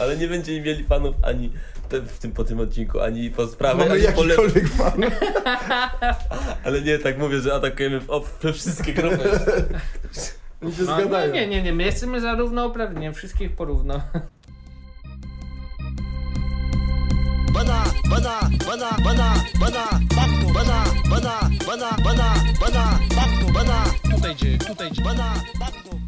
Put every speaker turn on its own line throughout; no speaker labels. ale nie będziemy mieli fanów ani te, w tym, po tym odcinku, ani po sprawie,
Mamy
ani po le...
jakikolwiek fan.
Ale nie, tak mówię, że atakujemy w, o, we wszystkie grupy.
Oni się
No, nie,
zgadają.
nie, nie, nie, my jesteśmy zarówno uprawnieni, wszystkich porówno.
bana bana bana bana bana baktu bana bana bana bana bana baktu bana tutaj gdzie tutaj gdzie bana baktu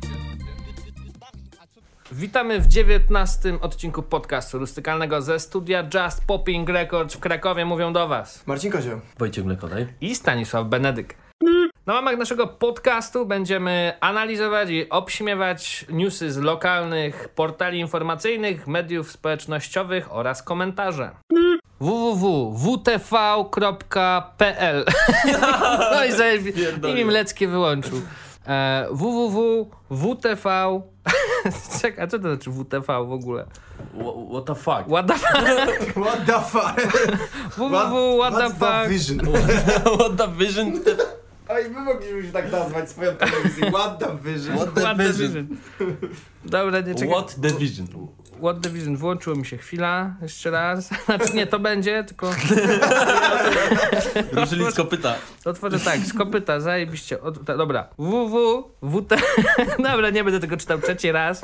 Witamy w 19 odcinku podcastu rustykalnego ze studia Just Popping Records w Krakowie. Mówią do Was
Marcin Kozioł.
Wojciech Mlekodaj.
i Stanisław Benedyk. Na łamach naszego podcastu będziemy analizować i obśmiewać newsy z lokalnych portali informacyjnych, mediów społecznościowych oraz komentarze. www.wtv.pl No i zajebi-
Pierdolę.
i im Leckie wyłączył. E, www.wtv Czekaj, a co to znaczy WTV w ogóle?
Wha- What the fuck?
What the fuck?
What the fuck?
www, what the fuck?
vision?
No, What the vision?
Oj, my mogliśmy się tak nazwać swoją telewizję. What the vision?
What the
What the
vision?
vision? Dobra, nie czekaj.
What the vision?
What the Vision, włączyło mi się chwila, jeszcze raz. Znaczy nie, to będzie, tylko
Ruszyli z kopyta.
otworzę tak, z kopyta, zajebiście. Od, ta, dobra, www, wt... Dobra, nie będę tego czytał trzeci raz.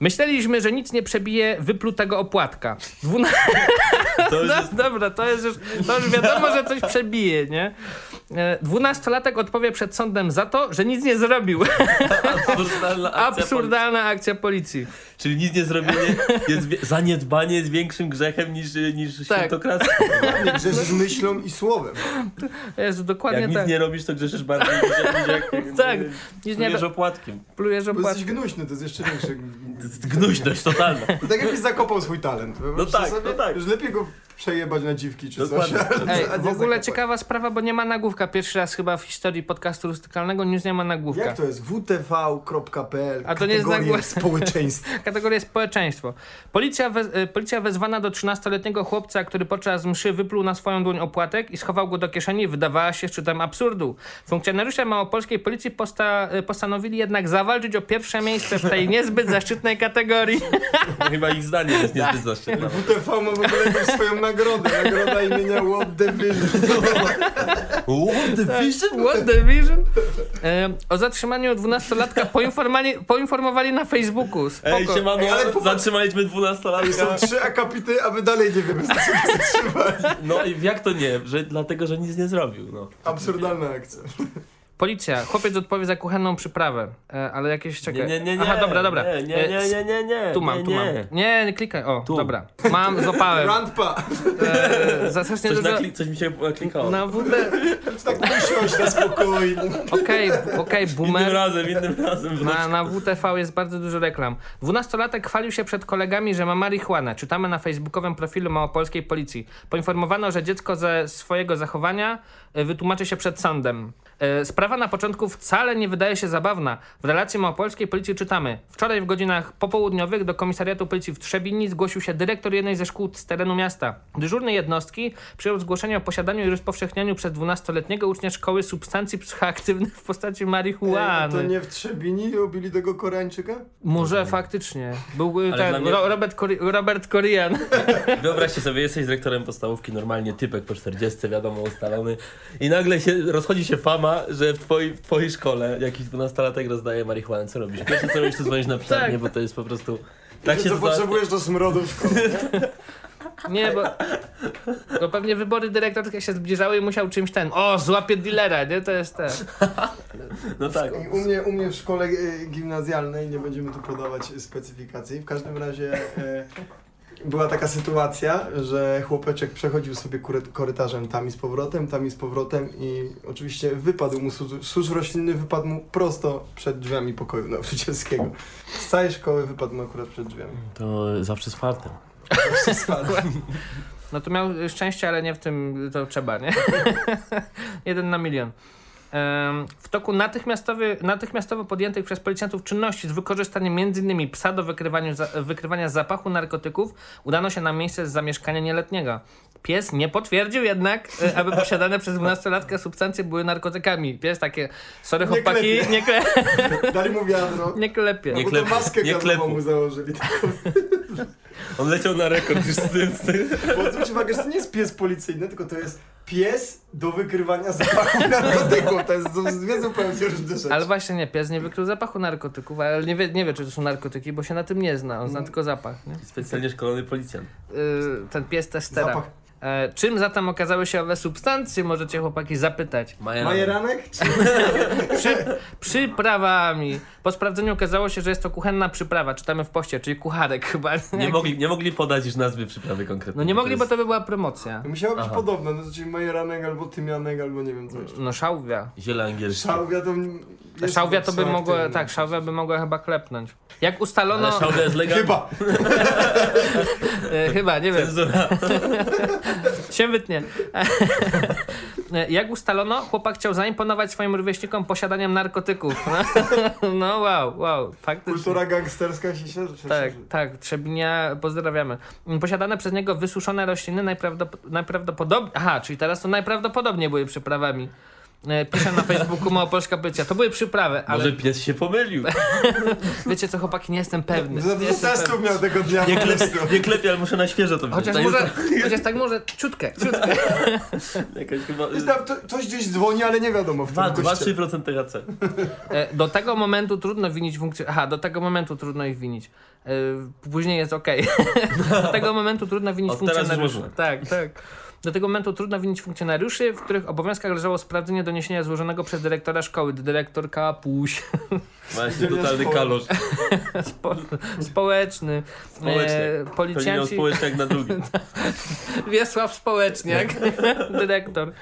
Myśleliśmy, że nic nie przebije wyplutego opłatka. Dwuna...
To już
No,
jest...
dobra, to jest już, to już wiadomo, że coś przebije, nie? E, Dwunastolatek odpowie przed sądem za to, że nic nie zrobił.
Absurdalna akcja
Absurdalna akcja policji.
poli- Czyli nic nie zrobienie, jest wie- zaniedbanie jest większym grzechem niż, niż
Tak.
świętokradztwo.
Nie grzeszysz myślą i słowem.
Jezu, dokładnie
Jak nic
tak.
nie robisz, to grzeszysz bardziej niż jak- niż jak
Tak,
jak-
nic nie
Plujesz opłatkiem.
plujesz
Bo jesteś
opłatkiem.
gnuśny, to jest jeszcze większe.
To jest Gnuśność totalna.
To tak jakbyś zakopał swój talent. Wyobraźcie
tak,
sobie,
no tak.
Już lepiej go przejebać na dziwki czy coś.
Dokładnie.
ale-
Ej,
a nie
w ogóle
zakopać.
ciekawa sprawa, bo nie ma nagłówka. Pierwszy raz chyba w historii podcastu rustykalnego news nie ma nagłówka.
Jak to jest? wtv.pl
A to nie jest
kategorie
nagłe-
społeczeństwo.
Kategoria społeczeństwo. Policja, wez, e, policja wezwana do 13-letniego chłopca, który podczas mszy wypluł na swoją dłoń opłatek i schował go do kieszeni, wydawała się szczytem absurdu. Funkcjonariusze małopolskiej policji posta, e, postanowili jednak zawalczyć o pierwsze miejsce w tej niezbyt zaszczytnej kategorii.
Chyba ich zdanie jest
Tak.
niezbyt zaszczytne.
WTV ma w ogóle jakąś swoją nagrodę. Nagroda imienia What the Vision.
What the
Tak.
Tak.
vision?
What the vision? E, o zatrzymaniu 12-latka poinformali, poinformowali na Facebooku. Spoko.
Ej, siemano,
Ej, ale
ale
popatrz-
zatrzymaliśmy
Są
12-latka.
trzy akapity, a my dalej nie wiemy, co się zatrzymać.
No i jak to nie? Że, dlatego, że nic nie zrobił, no.
Absurdalna akcja.
Policja, chłopiec odpowie za kuchenną przyprawę, e, ale jakieś czekaj.
Nie, nie, nie, nie.
Aha, dobra, dobra.
Nie, nie, nie,
E,
nie, nie, nie.
Tu mam,
nie,
tu mam.
nie.
Nie, nie klikaj. O,
Tu.
dobra. Mam,
Tak.
złapałem.
Randpa.
E, za strasznie
Coś,
dużo.
nakli- coś mi się naklikało.
Na WD.
Tak usiąść na spokojnie.
Okej, b- okej,
Innym
boomer.
razem, innym razem. wnuczku.
Na, na WTV jest bardzo dużo reklam. Dwunastolatek chwalił się przed kolegami, że ma marihuanę. Czytamy na facebookowym profilu małopolskiej policji. Poinformowano, że dziecko ze swojego zachowania e, wytłumaczy się przed sądem. E, Sprawa na początku wcale nie wydaje się zabawna. W relacji małopolskiej policji czytamy. Wczoraj w godzinach popołudniowych do komisariatu policji w Trzebini zgłosił się dyrektor jednej ze szkół z terenu miasta. Dyżurny jednostki przyjął zgłoszenie o posiadaniu i rozpowszechnianiu przez 12-letniego ucznia szkoły substancji psychoaktywnych w postaci marihuany.
no To nie w Trzebini ubili tego Koreańczyka?
Może faktycznie. Był y,
Ale
ten,
dla mnie-
Ro- Robert, Kori- Robert Korian.
Wyobraźcie sobie, jesteś dyrektorem podstawówki, normalnie typek po 40, wiadomo, ustalony. I nagle się, rozchodzi się fama, że w twojej, w twojej szkole jakiś 12-latek rozdaje marihuanę. Co robisz? Pierwsze co robisz, to dzwonisz na psiarnię, bo to jest po prostu... Tak
Że
się
co
zda-
potrzebujesz do smrodu w szkole.
Nie, bo to pewnie wybory dyrektorskie się zbliżały i musiał czymś ten. O, złapie dealera, nie? To jest ten.
No tak.
I U mnie, u mnie w szkole e, gimnazjalnej, nie będziemy tu podawać specyfikacji, w każdym razie e, była taka sytuacja, że chłopeczek przechodził sobie kury- korytarzem tam i z powrotem, tam i z powrotem i oczywiście wypadł mu susz, susz roślinny, wypadł mu prosto przed drzwiami pokoju nauczycielskiego. Z całej szkoły wypadł mu akurat przed drzwiami.
To zawsze z fartem.
Spadł.
No to miał szczęście, ale nie w tym, to trzeba, nie? Jeden na milion. Em, W toku natychmiastowy, natychmiastowo podjętych przez policjantów czynności z wykorzystaniem m.in. psa do wykrywaniu za, wykrywania zapachu narkotyków udano się na miejsce zamieszkania nieletniego. Pies nie potwierdził jednak, e, aby posiadane przez 12-latkę substancje były narkotykami. Pies takie, sorry
Nie
chłopaki,
klepie.
nie, kle,
Dali mu wiadro.
nie klepie.
Nie
Nie
klepu,
maskę
nie
gazową
klepu.
mu założyli.
On leciał na rekord już z tym. Z tym.
Bo zwróć uwagę, że to nie jest pies policyjny, tylko to jest pies do wykrywania zapachów narkotyków. To jest są dwie zupełnie różne rzeczy.
Ale właśnie nie, pies nie wykrył zapachu narkotyków, ale nie wie, nie wie czy to są narkotyki, bo się na tym nie zna. On
No.
zna tylko zapach. Nie?
Specjalnie szkolony policjant.
Yy, ten pies testera.
Zapach.
E, czym zatem okazały się owe substancje, możecie chłopaki zapytać.
Majeranek? Czy...
Przy, przyprawami. Po sprawdzeniu okazało się, że jest to kuchenna przyprawa, czytamy w poście, czyli kucharek chyba.
Nie mogli, nie mogli podać już nazwy przyprawy konkretnej.
No nie mogli,
jest-
bo to by była promocja.
Musiało być
Aha.
podobne, no to czyli majeranek albo tymianek, albo nie wiem co jeszcze.
No szałwia.
Ziele angielskie.
Szałwia to... jest y,
Szałwia to by
psychoaktywny.
mogła, tak, szałwia by mogła chyba klepnąć. Jak
Ale
ustalono,
szałwia jest legalna.
Chyba.
e, chyba, nie wiem,
Cenzura.
się wytnie. E, Jak ustalono, chłopak chciał zaimponować swoim rówieśnikom posiadaniem narkotyków. No, no wow, wow, faktycznie.
Kultura gangsterska się szerzy.
Tak, tak, Trzebinia, pozdrawiamy. Posiadane przez niego wysuszone rośliny najprawdop- najprawdopodobniej... Aha, czyli teraz to najprawdopodobniej były przyprawami. E, Pisze na Facebooku Małopolska Policja. To były przyprawy, ale
Może pies się pomylił.
wiecie co chłopaki, nie jestem pewny.
Za
Nie
dużo
jestem
testów miał tego dnia.
Nie
po
klepię,
prostu.
nie klepię ale muszę na świeżo to wziąć.
Chociaż
Na jutro.
może, chociaż tak może, ciutkę, ciutkę.
Jakaś chyba...
Gdzieś tam to- Ktoś gdzieś dzwoni, ale nie wiadomo w którym goście.
2-3% THC.
E, Do tego momentu trudno winić funkcję. Aha, do tego momentu trudno ich winić. E, Później jest ok. do tego momentu trudno winić
Od teraz już
funkcjonariuszy.
można.
Tak, tak. Do tego momentu trudno winić funkcjonariuszy, w których obowiązkach leżało sprawdzenie doniesienia złożonego przez dyrektora szkoły. Dyrektor Kapuś.
Właśnie totalny
Społeczny.
kalosz.
Spo społeczny. E,
Społeczny. To nie miał
policjanci.
społeczniak na drugim.
Wiesław Społeczniak, dyrektor.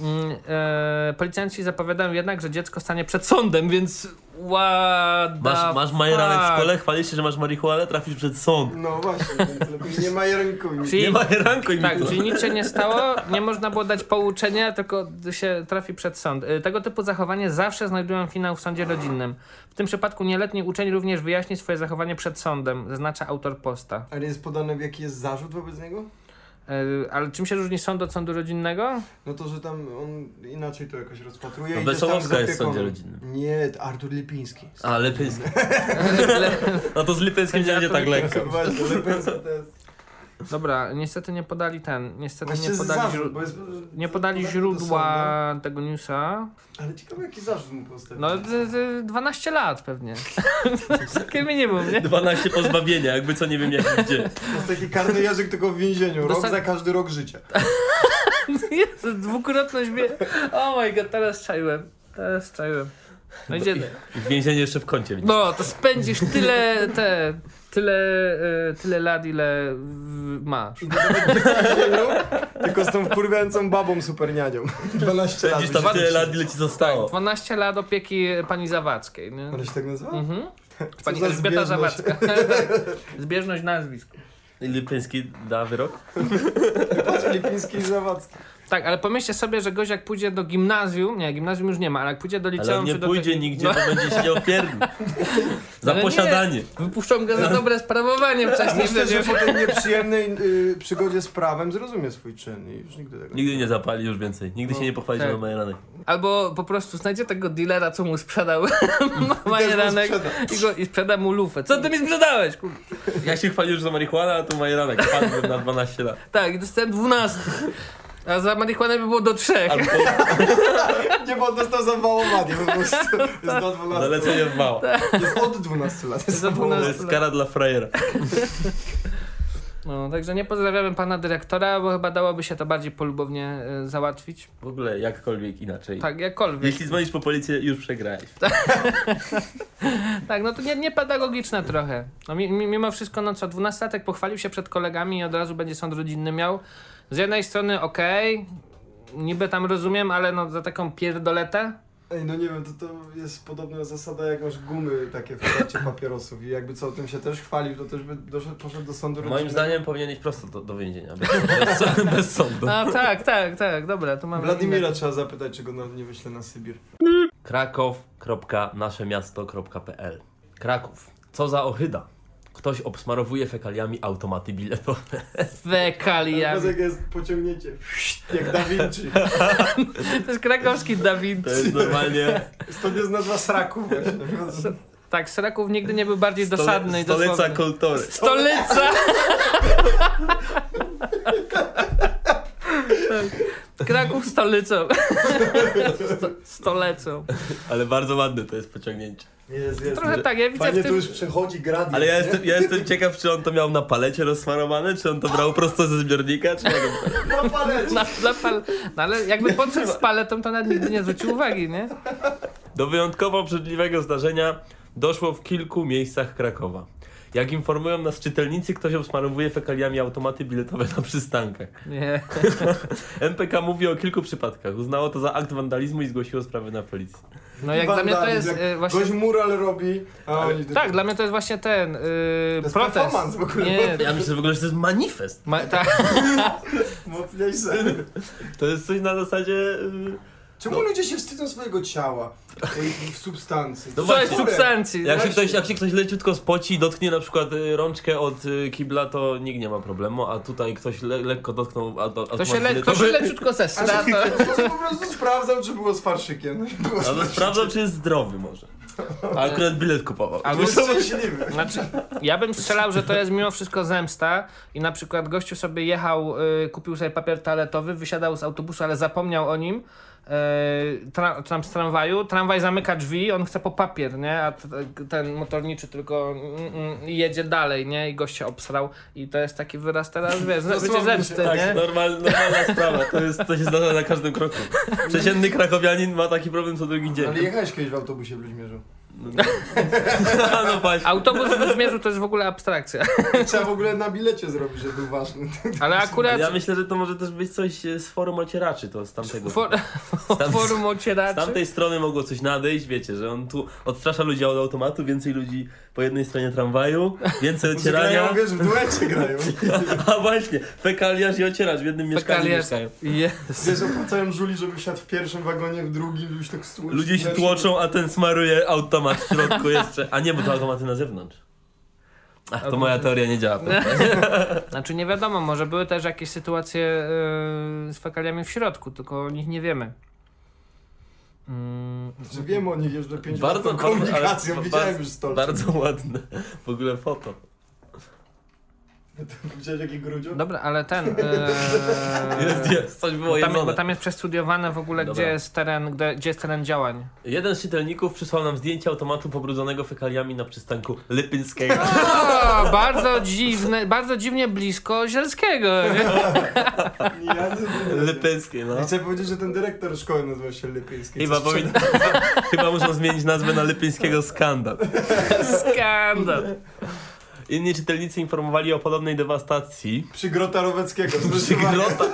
Mm, E, policjanci zapowiadają jednak, że dziecko stanie przed sądem, więc ładna.
Masz, masz majeranek w szkole, chwalisz się, że masz marihuanę, trafisz przed sąd.
No właśnie, więc lepiej nie majeranku.
Czyli-
Nie majeranku im
Tak,
to.
czyli nic się nie stało, nie można było dać pouczenia, tylko się trafi przed sąd. Y, Tego typu zachowanie zawsze znajdują finał w sądzie rodzinnym. W tym przypadku nieletni uczeń również wyjaśni swoje zachowanie przed sądem, zaznacza autor posta.
Ale jest podane, jaki jest zarzut wobec niego?
Y, Ale czym się różni sąd od sądu rodzinnego?
No to, że tam on inaczej to jakoś rozpatruje.
No
i gdzieś
Wesołowska
tam z
jest w
opieką.
sądzie rodzinnym.
Nie, to Artur Lipiński.
A, Lepiński. No to z Lipińskim nie będzie tak lekko.
Właśnie, Lipiński to jest...
Dobra, niestety nie podali ten, niestety
Właśnie
nie podali,
zarzut,
źró-
bo jest...
nie podali
podane do
źródła tego newsa.
sądu. Ale ciekawe, jaki zarzut mu postawiono.
No, d- d- 12 lat pewnie. Takie minimum, nie?
12 pozbawienia, jakby co nie wiem jak i gdzie.
To jest taki karny jazyk tylko w więzieniu. Rok
Dosta-
za każdy rok życia.
Jezu, dwukrotność wie. O my god, teraz czaiłem. Teraz czaiłem. No idzie.
I więzienie jeszcze w kącie. widzisz.
No, to spędzisz tyle te, tyle, e, tyle lat, ile w- masz.
I to nawet nie w więzieniu, tylko z tą wkurwiającą babą supernianią. 12 lat.
Spędzisz tam tyle lat, ile ci zostało.
12 lat opieki pani Zawadzkiej. Nie?
Ale się tak nazywa?
Mhm.
Co
Pani
za
Elżbieta
zbieżność.
Zawadzka. Zbieżność nazwisk.
Lipiński da wyrok?
Patrz, Lipiński i Zawadzki.
Tak, ale pomyślcie sobie, że gość jak pójdzie do gimnazjum, nie, gimnazjum już nie ma, ale jak pójdzie do liceum
Ale on nie
czy do
pójdzie
techni-
nigdzie,
No,
bo będzie się nie opierdził. Za
Ale nie.
posiadanie.
No, wypuszczą go
No.
za dobre sprawowanie wcześniej.
Myślę, że
będzie-
po tej nieprzyjemnej y, przygodzie z prawem zrozumie swój czyn i już nigdy tego
Nigdy nie zapali już więcej. Nigdy się nie pochwali,
tak.
że ma majeranek.
Albo po prostu znajdzie tego dealera, co mu sprzedał
I
majeranek
też mu sprzeda.
i, go, i sprzeda mu lufę. Co ty mi sprzedałeś? Kur...
Tak. Ja się chwaliłem, że za marihuana, a tu majeranek. Padłem na 12 lat.
Tak, i dostałem 12. A za marihuanę by było do trzech.
Albo
Nie, bo on dostał zawałowanie po prostu. Jest do
No,
12
zalecenie w mało.
lat. Jest od 12 lat. Jest
Za 12
To jest kara dla frajera.
No, także nie pozdrawiamy pana dyrektora, bo chyba dałoby się to bardziej polubownie e, załatwić.
W ogóle jakkolwiek inaczej.
Tak, jakkolwiek.
Jeśli dzwonisz po policję, już przegrałeś.
Tak, no to nie, nie pedagogiczne trochę. No, mi, mi- mimo wszystko, no co, dwunastolatek pochwalił się przed kolegami i od razu będzie sąd rodzinny miał. Z jednej strony okej, niby tam rozumiem, ale no za taką pierdoletę.
Ej, no nie wiem, to, to jest podobna zasada jak masz gumy takie w trakcie papierosów i jakby co o tym się też chwalił, to też by doszedł, poszedł do sądu
Moim
rodzinnego.
zdaniem powinien iść prosto do, do więzienia. Bez, bez, bez sądu.
No tak, tak, tak, dobra, to mamy...
Wladimira trzeba zapytać, czego nam nie wyśle na Sybir.
krakow.naszemiasto.pl Kraków. Co za ohyda. Ktoś obsmarowuje fekaliami automaty biletowe.
Ja
Fekalia.
jak jest pociągnięcie, jak Da Vinci.
To jest krakowski Dawid.
To jest normalnie...
Stąd jest nazwa sraku właśnie.
Tak, Syraków nigdy nie był bardziej dosadny i
Stolica
dosłowny.
kultury.
Stolica! Tak. Kraków stolicą. Sto, stolecą.
Ale bardzo ładne to jest pociągnięcie.
Jest, jest.
Trochę tak, ja widzę
Fajnie
w
tu
tym...
już przechodzi gradient.
Ale ja
nie?
jestem, ja jestem ciekaw, czy on to miał na palecie rozsmarowane, czy on to brał prosto ze zbiornika, czy jak on-
Na palecie.
Na, na pal... No ale jakby podszedł z paletą, to nawet nigdy nie zwrócił uwagi, nie?
Do wyjątkowo obrzydliwego zdarzenia doszło w kilku miejscach Krakowa. Jak informują nas czytelnicy, ktoś obsmarowuje fekaliami automaty biletowe na przystankach.
Nie.
MPK mówi o kilku przypadkach. Uznało to za akt wandalizmu i zgłosiło sprawę na policję.
No jak dla mnie to jest e, właśnie...
Gość mural robi, a oni...
Tak, dla mnie to jest właśnie ten y,
jest
protest.
performance w ogóle.
Nie,
Ja myślę w ogóle, że to jest manifest.
ma, tak.
no, Mocniejsze.
To jest coś na zasadzie... y,
Czemu ludzie się wstydzą swojego ciała? Tej w substancji.
No
Coś
właśnie.
substancji.
Jak się,
Właśnie.
ktoś, jak się ktoś leciutko spoci i dotknie na przykład y, rączkę od y, kibla, to nikt nie ma problemu, a tutaj ktoś le, lekko dotknął... A, do,
To się,
automat
le, to się
biletowy.
leciutko
A
zestra.
że-
To...
że po prostu sprawdzał, czy było z farszykiem. No Było z
Ale
farszykiem.
sprawdzam, czy jest zdrowy może. A akurat bilet kupował.
Albo
Był
są-
szczęśliwy.
Znaczy, ja bym strzelał, że to jest mimo wszystko zemsta i na przykład gościu sobie jechał, y, kupił sobie papier toaletowy, wysiadał z autobusu, ale zapomniał o nim. y, Tra- tam z tramwaju, tramwaj zamyka drzwi, on chce po papier, nie? A t- ten motorniczy tylko mm, mm, jedzie dalej, nie? I gość się obsrał. I to jest taki wyraz teraz, wiesz, no, bycie
Dosłownie, no.
zemsty,
Tak,
nie?
normal, normalna sprawa. To, jest, to się zdarza na każdym kroku. Przeciętny krakowianin ma taki problem co drugi dzień.
Ale jechałeś kiedyś w autobusie w Luźmierzu.
no właśnie.
Autobus w Zmierzu to jest w ogóle abstrakcja.
Trzeba w ogóle na bilecie zrobić, żeby był ważny.
Ale akurat
Ja myślę, że to może też być coś e, z forum ocieraczy, to z tamtego.
for,
tam-
forum
Z
ocieraczy.
tamtej strony mogło coś nadejść, wiecie, że on tu odstrasza ludzi od automatu, więcej ludzi po jednej stronie tramwaju, więcej ocierania.
Grają, wiesz, w duecie grają.
A właśnie, fekaliarz i ocieracz w jednym mieszkaniu
Fekaliarz.
mieszkają.
Jest.
Wiesz, opłacałem żuli, żeby siadł w pierwszym wagonie, w drugim, już tak stłucz.
Ludzie się tłoczą, a ten smaruje automat w środku jeszcze. A nie, bo to automaty na zewnątrz. A to moja teoria nie działa.
Znaczy nie wiadomo, może były też jakieś sytuacje yy, z fekaliami w środku, tylko o nich nie wiemy. Mm,
Że wiem o nich jeszcze pięć lat
Bardzo-
tą
bardzo- ale-
komunikacją,
ba-
widziałem
ba-
już stolce.
Bardzo ładne. W ogóle foto.
Widziałeś jaki grudziu?
dobra, ale ten. Yy,
Tak.
Jest, jest, coś było
bo, tam, bo
jedzone.
tam jest przestudiowane w ogóle,
Dobra.
gdzie jest, teren, gdzie, gdzie jest teren działań.
Jeden z czytelników przysłał nam zdjęcie automatu pobrudzonego fekaliami na przystanku Lipińskiego.
Tak. O, bardzo dziwne, bardzo dziwnie blisko Zielskiego. nie?
Nie, ja nie-
Lipińskie, no.
Ja Chcę powiedzieć, że ten dyrektor szkoły nazywa się Lipiński.
Chyba,
Co sprzeda-
powin... Chyba muszą zmienić nazwę na Lipińskiego
Tak.
Skandal.
Skandal.
Inni czytelnicy informowali o podobnej dewastacji.
Przy Grota Roweckiego. Przy
Grota.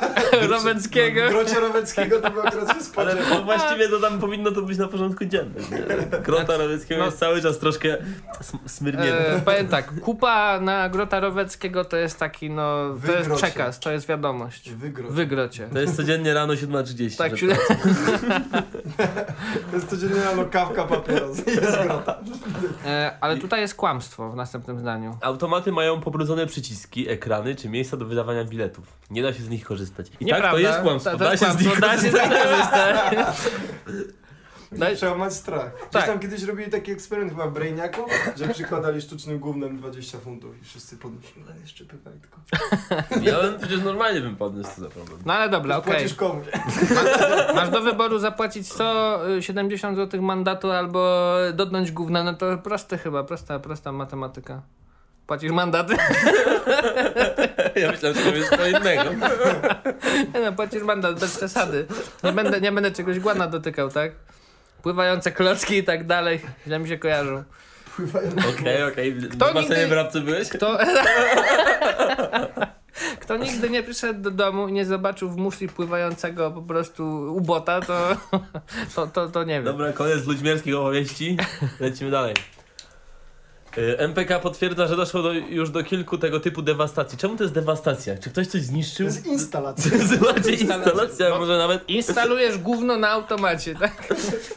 Roweckiego.
W Grocie Roweckiego to był akurat
Ale
Tak.
spodziewa.
to właściwie to tam powinno to być na porządku dziennym. nie? Grota Rawieckiego
No.
jest cały czas troszkę sm- smyrnięta.
E, powiem tak, kupa na Grota Roweckiego to jest taki, no, to jest
Wygrocie.
przekaz, to jest wiadomość.
Wygrot.
Wygrocie.
To jest codziennie rano 7.30.
Tak,
że-
To jest codziennie rano kawka papieros. Jest Grota.
E, ale tutaj jest kłamstwo w następnym zdaniu.
Automaty mają pobrudzone przyciski, ekrany czy miejsca do wydawania biletów. Nie da się z nich korzystać. I tak to
Nieprawda.
jest kłamstwo.
To- to
da się
jest
z nich
kłamstwo, da się
korzystać.
Daj-
Trzeba mieć strach. Gdzieś
Tak.
tam kiedyś robili taki eksperyment chyba w Brainiaku, że przykładali sztucznym gównem 20 funtów i wszyscy podnosili. Ale jeszcze pytaj tylko.
Ja bym przecież normalnie bym podniósł to za problem.
No ale dobra, okej.
Płacisz komuś.
Masz do wyboru zapłacić 170 zł mandatu albo dotknąć gówna, no to proste chyba, prosta, prosta matematyka. Płacisz mandat?
Ja myślałem, że to jest co innego.
Nie no, płacisz mandat, bez przesady. Nie będę, nie będę czegoś głana dotykał, tak? Pływające klocki i tak dalej, źle mi się kojarzą.
Pływają.
Okej, okej.
Kto
W basenie
nigdy-
w Rabce byłeś?
Kto... Kto nigdy nie przyszedł do domu i nie zobaczył w muszli pływającego po prostu ubota, to, to, to, to nie wiem.
Dobra, koniec ludźmierskich opowieści. Lecimy dalej. Y, MPK potwierdza, że doszło do, już do kilku tego typu dewastacji. Czemu to jest dewastacja? Czy ktoś coś
To
zniszczył?
jest instalacja.
Zobaczcie, instalacja,
No.
może nawet.
Instalujesz gówno na automacie, tak?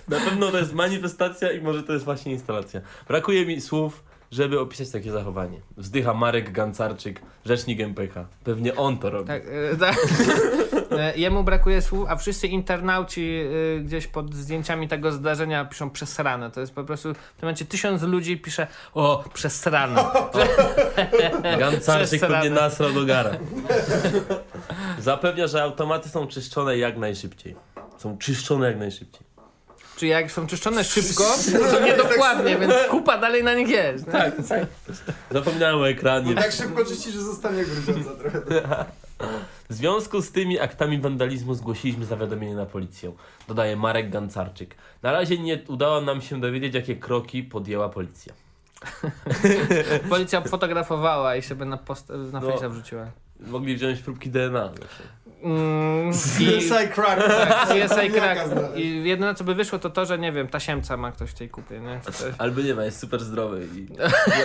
Na pewno to jest manifestacja i może to jest właśnie instalacja. Brakuje mi słów żeby opisać takie zachowanie. Wzdycha Marek Gancarczyk, rzecznik MPK. Pewnie on to robi.
Tak, e, tak. E, Jemu brakuje słów, a wszyscy internauci e, gdzieś pod zdjęciami tego zdarzenia piszą przesrane. To jest po prostu w tym momencie tysiąc ludzi pisze o, przesrane.
Gancarczyk
Przesrane.
pewnie nasrał do gara. Zapewnia, że automaty są czyszczone jak najszybciej. Są czyszczone jak najszybciej.
Czyli jak są czyszczone szybko, to niedokładnie, więc kupa dalej na nich jest. nie?
Tak, Zapomniałem o ekranie.
Tak szybko czyści, że zostanie grudziąca trochę.
W związku z tymi aktami wandalizmu zgłosiliśmy zawiadomienie na policję, dodaje Marek Gancarczyk. Na razie nie udało nam się dowiedzieć, jakie kroki podjęła policja.
Policja fotografowała i sobie na, post- na
No.
fejsa wrzuciła.
Mogli wziąć próbki DNA. znaczy.
Mm, i-
CSI Crack.
Tak, CSI
Jaka
Crack.
znaleźć?
I jedyne co by wyszło to to, że nie wiem, tasiemca ma ktoś w tej kupie, nie? Czy coś.
Albo nie ma, jest super zdrowy i i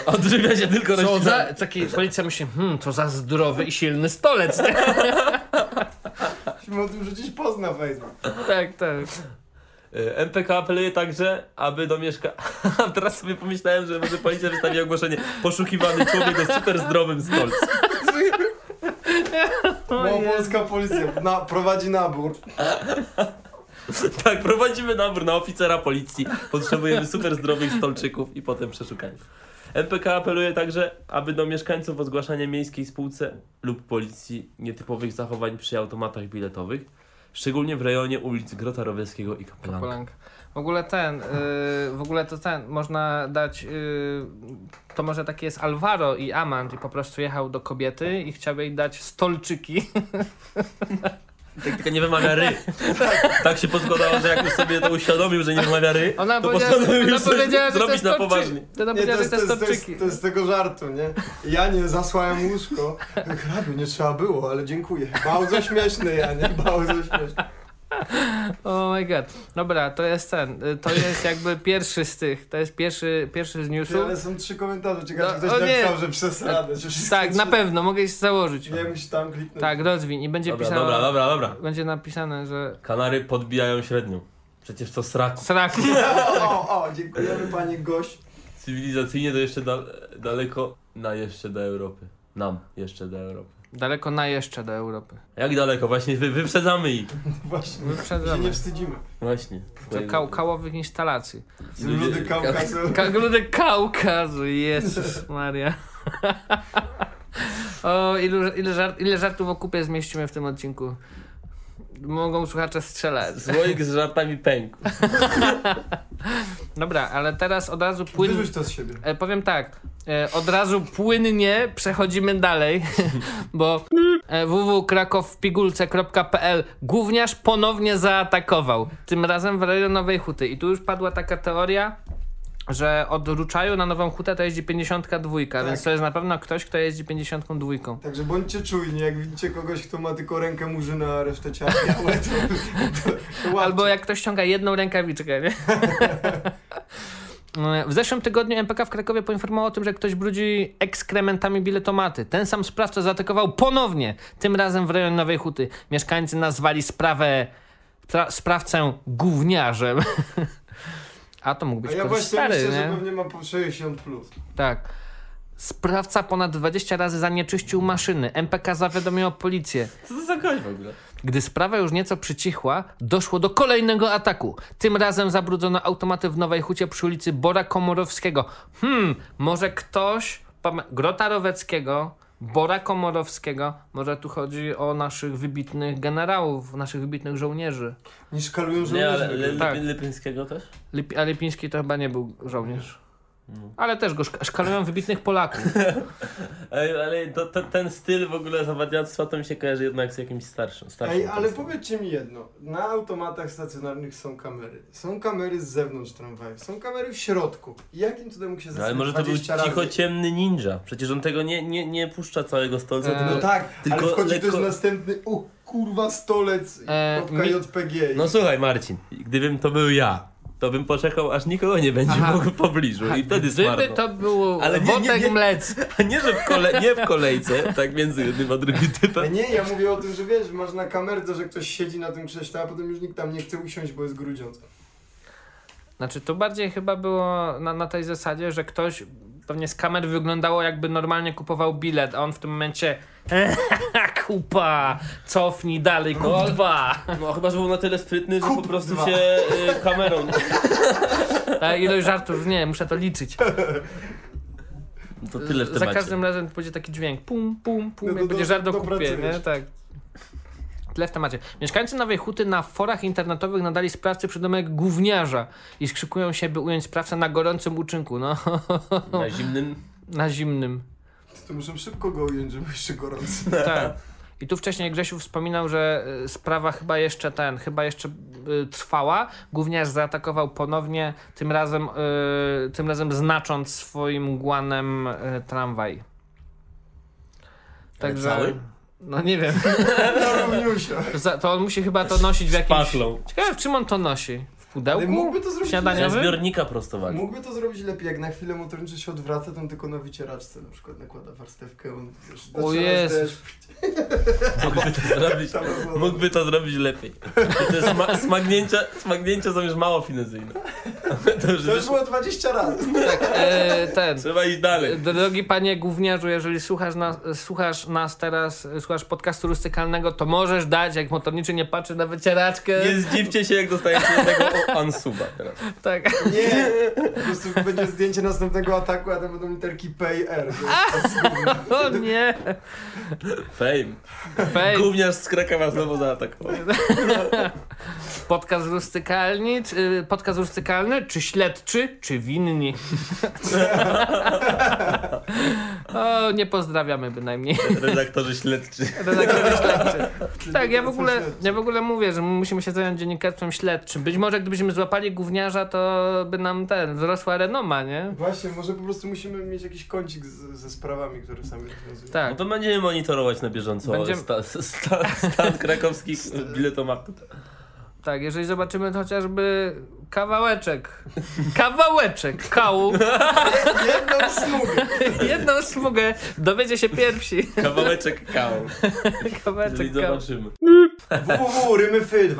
odżywia się tylko
Co
roślinami.
za, taki policja myśli, hmm, to za zdrowy i silny stolec. nie?
Musimy o tym rzucić post na Facebook.
tak, tak.
Y, MPK apeluje także, aby do mieszka... Teraz sobie pomyślałem, że może policja wystawi ogłoszenie poszukiwany człowiek o super zdrowym stolcu.
No
Małopolska policja na, prowadzi nabór.
Tak, prowadzimy nabór na oficera policji. Potrzebujemy super zdrowych stolczyków i potem przeszukaniów. MPK apeluje także, aby do mieszkańców o zgłaszanie miejskiej spółce lub policji nietypowych zachowań przy automatach biletowych, szczególnie w rejonie ulic Grota Rowerskiego i Kapelanka.
Polanka. W ogóle ten, y, w ogóle to ten, można dać, y, to może taki jest Alvaro i Amand i po prostu jechał do kobiety i chciał jej dać stolczyki.
Tak tylko nie wymawia ry. Tak się poskładało, że jak już sobie to uświadomił, że nie wymawia ry,
Ona
to
powiedziała,
postanowił
ona
sobie
powiedziała że to
zrobić
jest
na
torczyk-
poważnie.
Nie,
Ona
to
powiedziała, że
jest,
to
to, jest,
jest
to, jest,
torczyki.
to jest z tego żartu, nie? Ja nie zasłałem łóżko. Hrabiu, nie trzeba było, ale dziękuję. Bardzo śmieszny, ja nie? Bardzo śmieszny.
Oh my god. Dobra, to jest ten. y, To jest jakby pierwszy z tych. To jest pierwszy, pierwszy z newsów.
Ale są trzy komentarze. Ciekawe,
No,
czy
o
ktoś
nie.
napisał, że przesadę. Że wszystko
Tak,
trzy-
na pewno, mogę się założyć.
Nie musi tam kliknąć.
Tak, rozwiń i będzie
Dobra,
pisane.
dobra, dobra, dobra.
Będzie napisane, że.
Kanary podbijają średnią. Przecież to srak.
Sraki.
O, o, dziękujemy panie gość.
Cywilizacyjnie to jeszcze dal- daleko na jeszcze do Europy. Nam jeszcze do Europy.
Daleko na jeszcze do Europy.
Jak daleko? Właśnie wy, wyprzedzamy ich.
Właśnie. Się
Wyprzedzamy.
nie wstydzimy.
Właśnie.
Do kał, kałowych instalacji.
Ludy Kaukazu.
Kagludy Kaukazu, Jezus Maria. O, ilu, ile, żart, ile żartów o kupie zmieścimy w tym odcinku? Mogą słuchacze strzelać.
Słoik z żartami pękł.
Dobra, ale teraz od razu płyn...
Wyrzuć to z siebie.
E, powiem tak, e, od razu płynnie przechodzimy dalej, bo e, www.krakowpigulce.pl Gówniarz ponownie zaatakował, tym razem w rejonie Nowej Huty. I tu już padła taka teoria, że od Ruczaju na Nową Hutę to jeździ 52, więc to jest na pewno ktoś, kto jeździ 52.
Także bądźcie czujni, jak widzicie kogoś, kto ma tylko rękę murzyna, a resztę ciała białe, to, to, to łapcie.
Albo jak ktoś ściąga jedną rękawiczkę, nie? No, W zeszłym tygodniu MPK w Krakowie poinformował o tym, że ktoś brudzi ekskrementami biletomaty. Ten sam sprawca zaatakował ponownie, tym razem w rejonie Nowej Huty. Mieszkańcy nazwali sprawę tra- sprawcę gówniarzem. A to mógł być
A ja
ktoś
właśnie
stary,
myślę,
nie?
że pewnie ma po 60 plus.
Tak. Sprawca ponad 20 razy zanieczyścił maszyny. MPK zawiadomiło policję.
Co to za gość w ogóle?
Gdy sprawa już nieco przycichła, doszło do kolejnego ataku. Tym razem zabrudzono automaty w Nowej Hucie przy ulicy Bora Komorowskiego. Hmm, może ktoś... pamię- Grota Roweckiego, Bora Komorowskiego. Może tu chodzi o naszych wybitnych generałów, naszych wybitnych żołnierzy.
Niż kalują
Nie,
żołnierzy.
ale le,
wygląda.
Tak.
Lipy- Lipińskiego też?
Lip, a Lipiński to chyba nie był żołnierz.
No.
Ale też go szka- szkalują wybitnych Polaków.
Ej, ale to, to, ten styl w ogóle zawadiactwa to mi się kojarzy jednak z jakimś starszym. starszym
Ej, ale
powiedzmy.
powiedzcie mi jedno. Na automatach stacjonarnych są kamery. Są kamery z zewnątrz tramwaju. Są kamery w środku. Jakim cudem mógł się
No, ale
zastawić
może to był
20 razy?
cicho ciemny ninja. Przecież on tego nie, nie, nie puszcza całego stolca.
Eee,
No
tylko...
tak,
Tylko
ale wchodzi
lekko-
też następny, o kurwa, stolec
E,
e,
mi-
JPG.
No słuchaj Marcin, gdybym to był ja, to bym poczekał aż nikogo nie będzie
Aha.
mógł w pobliżu i wtedy
Gdyby
zmarł. no.
to był
Ale nie, nie,
Wotek
nie.
Mlec.
A nie, że w, kole... nie w kolejce, tak między jednym a drugim
Ale
typem.
E, nie, ja mówię o tym, że wiesz, masz na kamerce, że ktoś siedzi na tym krześle, a potem już nikt tam nie chce usiąść, bo jest grudziąc.
Znaczy, to bardziej chyba było na, na tej zasadzie, że ktoś po pewnie z kamer wyglądało jakby normalnie kupował bilet, a on w tym momencie "Eee, kupa, cofnij dalej, kurwa.
No chyba, że był na tyle sprytny, że po prostu
dwa.
się y, kamerą...
Ta ilość żartów, nie, muszę to liczyć.
To tyle w temacie.
Za każdym razem będzie taki dźwięk pum, pum, pum,
No
jak
to
będzie
do-
żart o kupie,
dopracujesz.
nie? Tak. Tyle w temacie. Mieszkańcy Nowej Huty na forach internetowych nadali sprawcy przydomek gówniarza i skrzykują się, by ująć sprawcę na gorącym uczynku, no,
Na zimnym...
na zimnym.
To muszę szybko go ująć, żeby jeszcze gorący.
Tak. I tu wcześniej Grzesiu wspominał, że y, sprawa chyba jeszcze ten, chyba jeszcze y, trwała. Gówniarz zaatakował ponownie, tym razem, y, tym razem znacząc swoim guanem y, tramwaj. Także.
cały?
No nie wiem.
Na równiusia.
Za- To on musi chyba to nosić w jakimś.
Patlą.
Ciekawe, w czym on to nosi? W
Ale
pudełku?
mógłby to zrobić
Śniadanie.
Na
Paniawy?
zbiornika
Tak.
prostowali.
Mógłby to zrobić lepiej, jak na chwilę motorniczy się odwraca, to on tylko na wycieraczce na przykład nakłada warstewkę. On wiesz,
O
zaczyna
Jezu.
deszcz,
Mógłby to zrobić,
tam było.
mógłby to zrobić lepiej. To jest sma smagnięcia, smagnięcia są już mało finezyjne. To już
To już
wyszło.
było 20 razy.
E, ten.
Trzeba iść dalej.
Drogi panie gówniarzu, jeżeli słuchasz nas, słuchasz nas teraz, e, słuchasz podcastu rustykalnego, to możesz dać, jak motorniczy nie patrzy na wycieraczkę.
Nie zdziwcie się, jak dostajecie tego ansuba teraz.
Tak.
Nie, po prostu będzie zdjęcie następnego ataku, a tam będą literki PR.
O nie!
Fame.
Fej,
Gówniarz z Krakowa znowu zaatakował.
podcast rustykalny, czy, y, podcast rustykalny, czy śledczy, czy winni? o, nie pozdrawiamy bynajmniej.
Redaktorzy śledczy.
Redaktorzy śledczy. Tak, ja w, ogóle, ja w ogóle mówię, że my musimy się zająć dziennikarstwem śledczym. Być może gdybyśmy złapali gówniarza, to by nam ten, wzrosła renoma, nie?
Właśnie, może po prostu musimy mieć jakiś kącik z, ze sprawami, które sami rozwiązujemy.
No
Tak.
to będziemy monitorować na bieżąco
Będziemy-
sta, sta, stan krakowskich biletomatów.
Tak, jeżeli zobaczymy chociażby kawałeczek, kawałeczek kału, Tak.
Jedną smugę.
jedną smugę, dowiecie się pierwsi.
Kawałeczek kału. Czyli
Kawałeczek kału.
zobaczymy.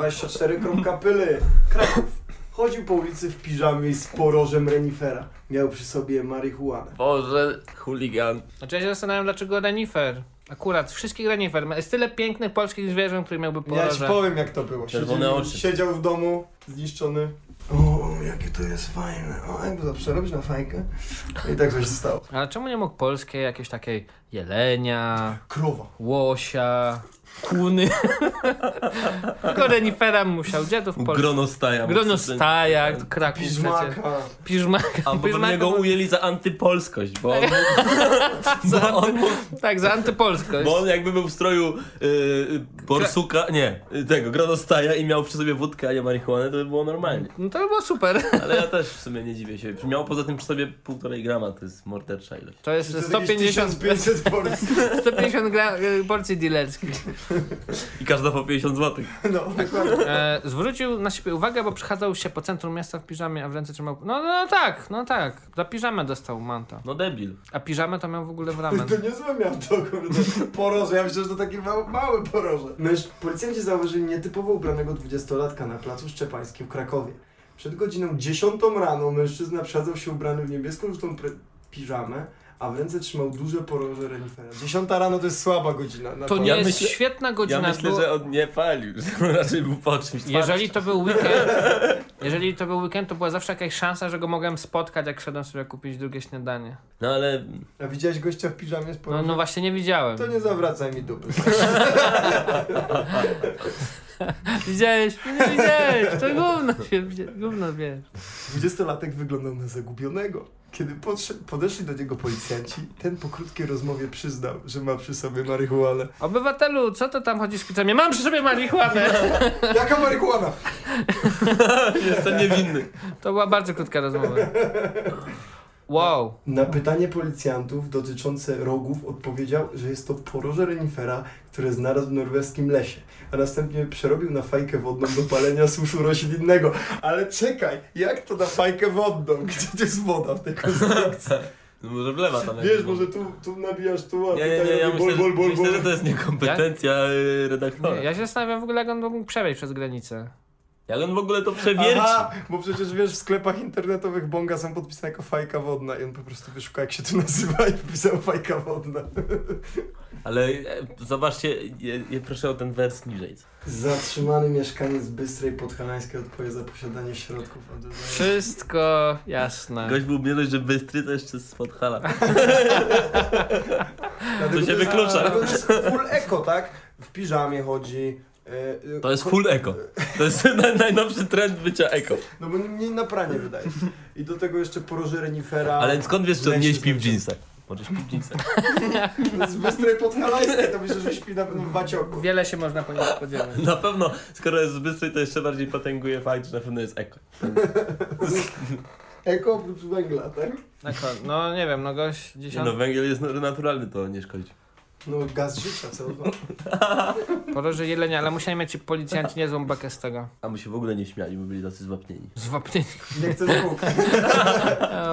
www.rymyfy24.pl Kraków. Chodził po ulicy w piżamie i z porożem renifera. Miał przy sobie marihuanę.
Boże, chuligan.
Znaczy ja się zastanawiam, dlaczego renifer. Akurat, wszystkich renifer. Jest tyle pięknych polskich zwierząt, które miałby
Ja ci
poroże.
powiem jak to było.
Czerwone
Siedział-
oczy.
Siedział w domu, zniszczony. O, jakie to jest fajne. O, jakby to przerobić na fajkę. I tak coś stało.
Ale czemu nie mógł polskie jakieś takiej jelenia,
Krowa.
łosia, kuny? Tylko renifera musiał. Gdzie to w Polsce?
Grono staja.
Grono staja, Kraków przecież.
Piżmaka.
Piżmaka.
A bo
piżmaka
pewnie go
był-
ujęli za antypolskość, bo on,
Tak. za
bo on,
Tak, za antypolskość.
bo on jakby był w stroju y, y, borsuka, nie, y, tego, gronostaja i miał przy sobie wódkę, a nie marihuanę, to by było normalnie.
No to by było super.
Ale ja też w sumie nie dziwię się. Miał poza tym przy sobie półtorej grama, to jest mordercza ilość.
To
To
jest
jakieś
150,
1500 porcji.
150 gra, y, porcji dealerskich.
I każda po 50 zł.
No, dokładnie.
E, zwrócił na siebie uwagę, bo przechadzał się po centrum miasta w piżamie, a w ręce trzymał... No, no tak, no tak. Za piżamę dostał manta.
No debil.
A piżamę to miał w ogóle w ramen.
To niezłe miał to, kurde. Poroże, ja myślę, że to takie małe, małe poroże. Męż, policjanci zauważyli nietypowo ubranego dwudziestolatka na placu Szczepańskim w Krakowie. Przed godziną 10 rano mężczyzna przedzał się ubrany w niebieską żółtą pre- piżamę, a w ręce trzymał duże poroże renifera. 10 rano to jest słaba godzina. Na
To nie
Ja
jest
myślę-
świetna
Ja
godzina.
myślę,
bo
że on nie palił, że on raczej był po czymś.
Jeżeli to był weekend, jeżeli to był weekend, to była zawsze jakaś szansa, że go mogłem spotkać, jak szedłem sobie kupić drugie śniadanie.
No ale
A widziałeś gościa w piżamie z
No,
porożem?
no właśnie nie widziałem.
To nie zawracaj mi dupy.
Widziałeś? No Nie widziałeś! To gówno się wzi- gówno wie.
Dwudziestolatek wyglądał na zagubionego. Kiedy podszedł, podeszli do niego policjanci, ten po krótkiej rozmowie przyznał, że ma przy sobie marihuanę.
Obywatelu, co to tam chodzi z pizzami? Mam przy sobie marihuanę!
Jaka marihuana?
jestem niewinny.
To była bardzo krótka rozmowa. Wow.
Na pytanie policjantów dotyczące rogów odpowiedział, że jest to poroże renifera, które znalazł w norweskim lesie, a następnie przerobił na fajkę wodną do palenia suszu roślinnego. Ale czekaj, jak to na fajkę wodną? Gdzie to jest woda w tej konstrukcji?
No może wlewa tam.
Wiesz,
jakieś-
może tu, tu nabijasz tu, a
Nie,
tutaj
nie, nie, ja
robi
myślę,
bol,
że,
bol, bol,
myślę,
bol.
że to jest niekompetencja y, redaktora.
Nie, ja się zastanawiam w ogóle, jak on mógł przebiec przez granicę.
Jak on w ogóle to przewierci?
Aha, bo przecież wiesz, w sklepach internetowych bonga są podpisane jako fajka wodna i on po prostu wyszukał jak się to nazywa i wpisał fajka wodna.
Ale e, zobaczcie, je, je, proszę o ten wers niżej.
Zatrzymany mieszkaniec Bystrej Podhalańskiej odpowie za posiadanie środków od
Wszystko jasne.
Gość był bierny, że bystry to jeszcze z Podhala. się wyklucza.
To jest full eko, tak? W piżamie chodzi. e, e,
To jest
ko-
full e- eko. To jest naj, najnowszy trend bycia eko.
No bo mnie na pranie wydaje. I do tego jeszcze poroże renifera.
Ale skąd wiesz, że on nie
Leci
śpi w
znaczy.
dżinsach? Może śpi w dżinsach.
Z Bystrej Podhalańskiej to myślę, że śpi na pewno w bacioku.
Wiele się można po nim spodziewać.
Na pewno, skoro jest z bystry, to jeszcze bardziej potęguje fakt, że na pewno jest eko.
Eko oprócz węgla, tak?
Na ko- No nie wiem, no gość
Nie No
dziesiąt...
węgiel jest naturalny, to nie szkodzi.
No gaz życia, co? No,
No.
Poroże jelenia, ale musieli mieć ci policjanci niezłą bekę z tego.
A mu się w ogóle nie śmiali, bo byli tacy zwapnieni.
Zwapnienie.
Nie chcę dwóch.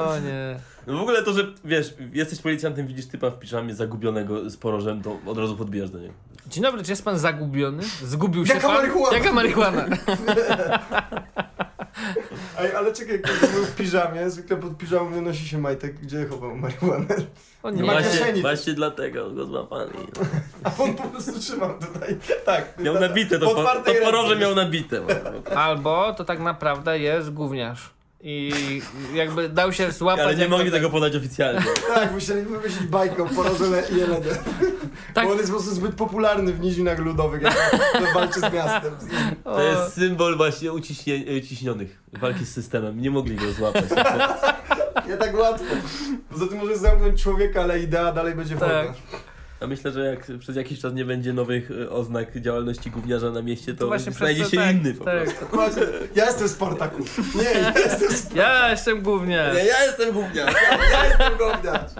O nie.
No w ogóle to, że wiesz, jesteś policjantem, widzisz typa w piżamie zagubionego z porożem, to od razu podbijasz do niego.
Dzień dobry, czy jest pan zagubiony? Zgubił się
Jaka
pan?
marihuana?
Jaka marihuana?
Ej, ale czekaj, kiedy był w piżamie, zwykle pod piżamą nie nosi się majtek, gdzie chował marihuanę.
O
Nie
nie.
ma
No Właśnie,
kieszeni.
właśnie dlatego go złapali. No.
A on po prostu trzymał tutaj. Tak.
Miał
tak,
nabite,
w
to, po, to
otwartej ręce.
poroże miał nabite. bo-
Albo to tak naprawdę jest gówniarz. I jakby dał się złapać.
Ale nie
jako
mogli
ten-
tego podać oficjalnie.
Tak, musieli wymyślić bajkę o porozyle i jelenę.
Tak.
Bo on jest po prostu zbyt popularny w nizinach ludowych, jak to walczy z miastem.
To jest symbol właśnie uciśnie, uciśnionych, walki z systemem. Nie mogli go złapać.
Nie tak łatwo. Poza tym możesz zamknąć człowieka, ale idea dalej będzie
Tak.
wolna.
A myślę, że jak przez jakiś czas nie będzie nowych e, oznak działalności gówniarza na mieście, to, znajdzie
przez
się
to tak,
inny po prostu.
tak.
Właśnie, Ja jestem Spartaku. Nie, ja jestem Spartaku.
Ja jestem gówniarz.
Nie, ja jestem gówniarz. Ja, ja jestem gówniarz.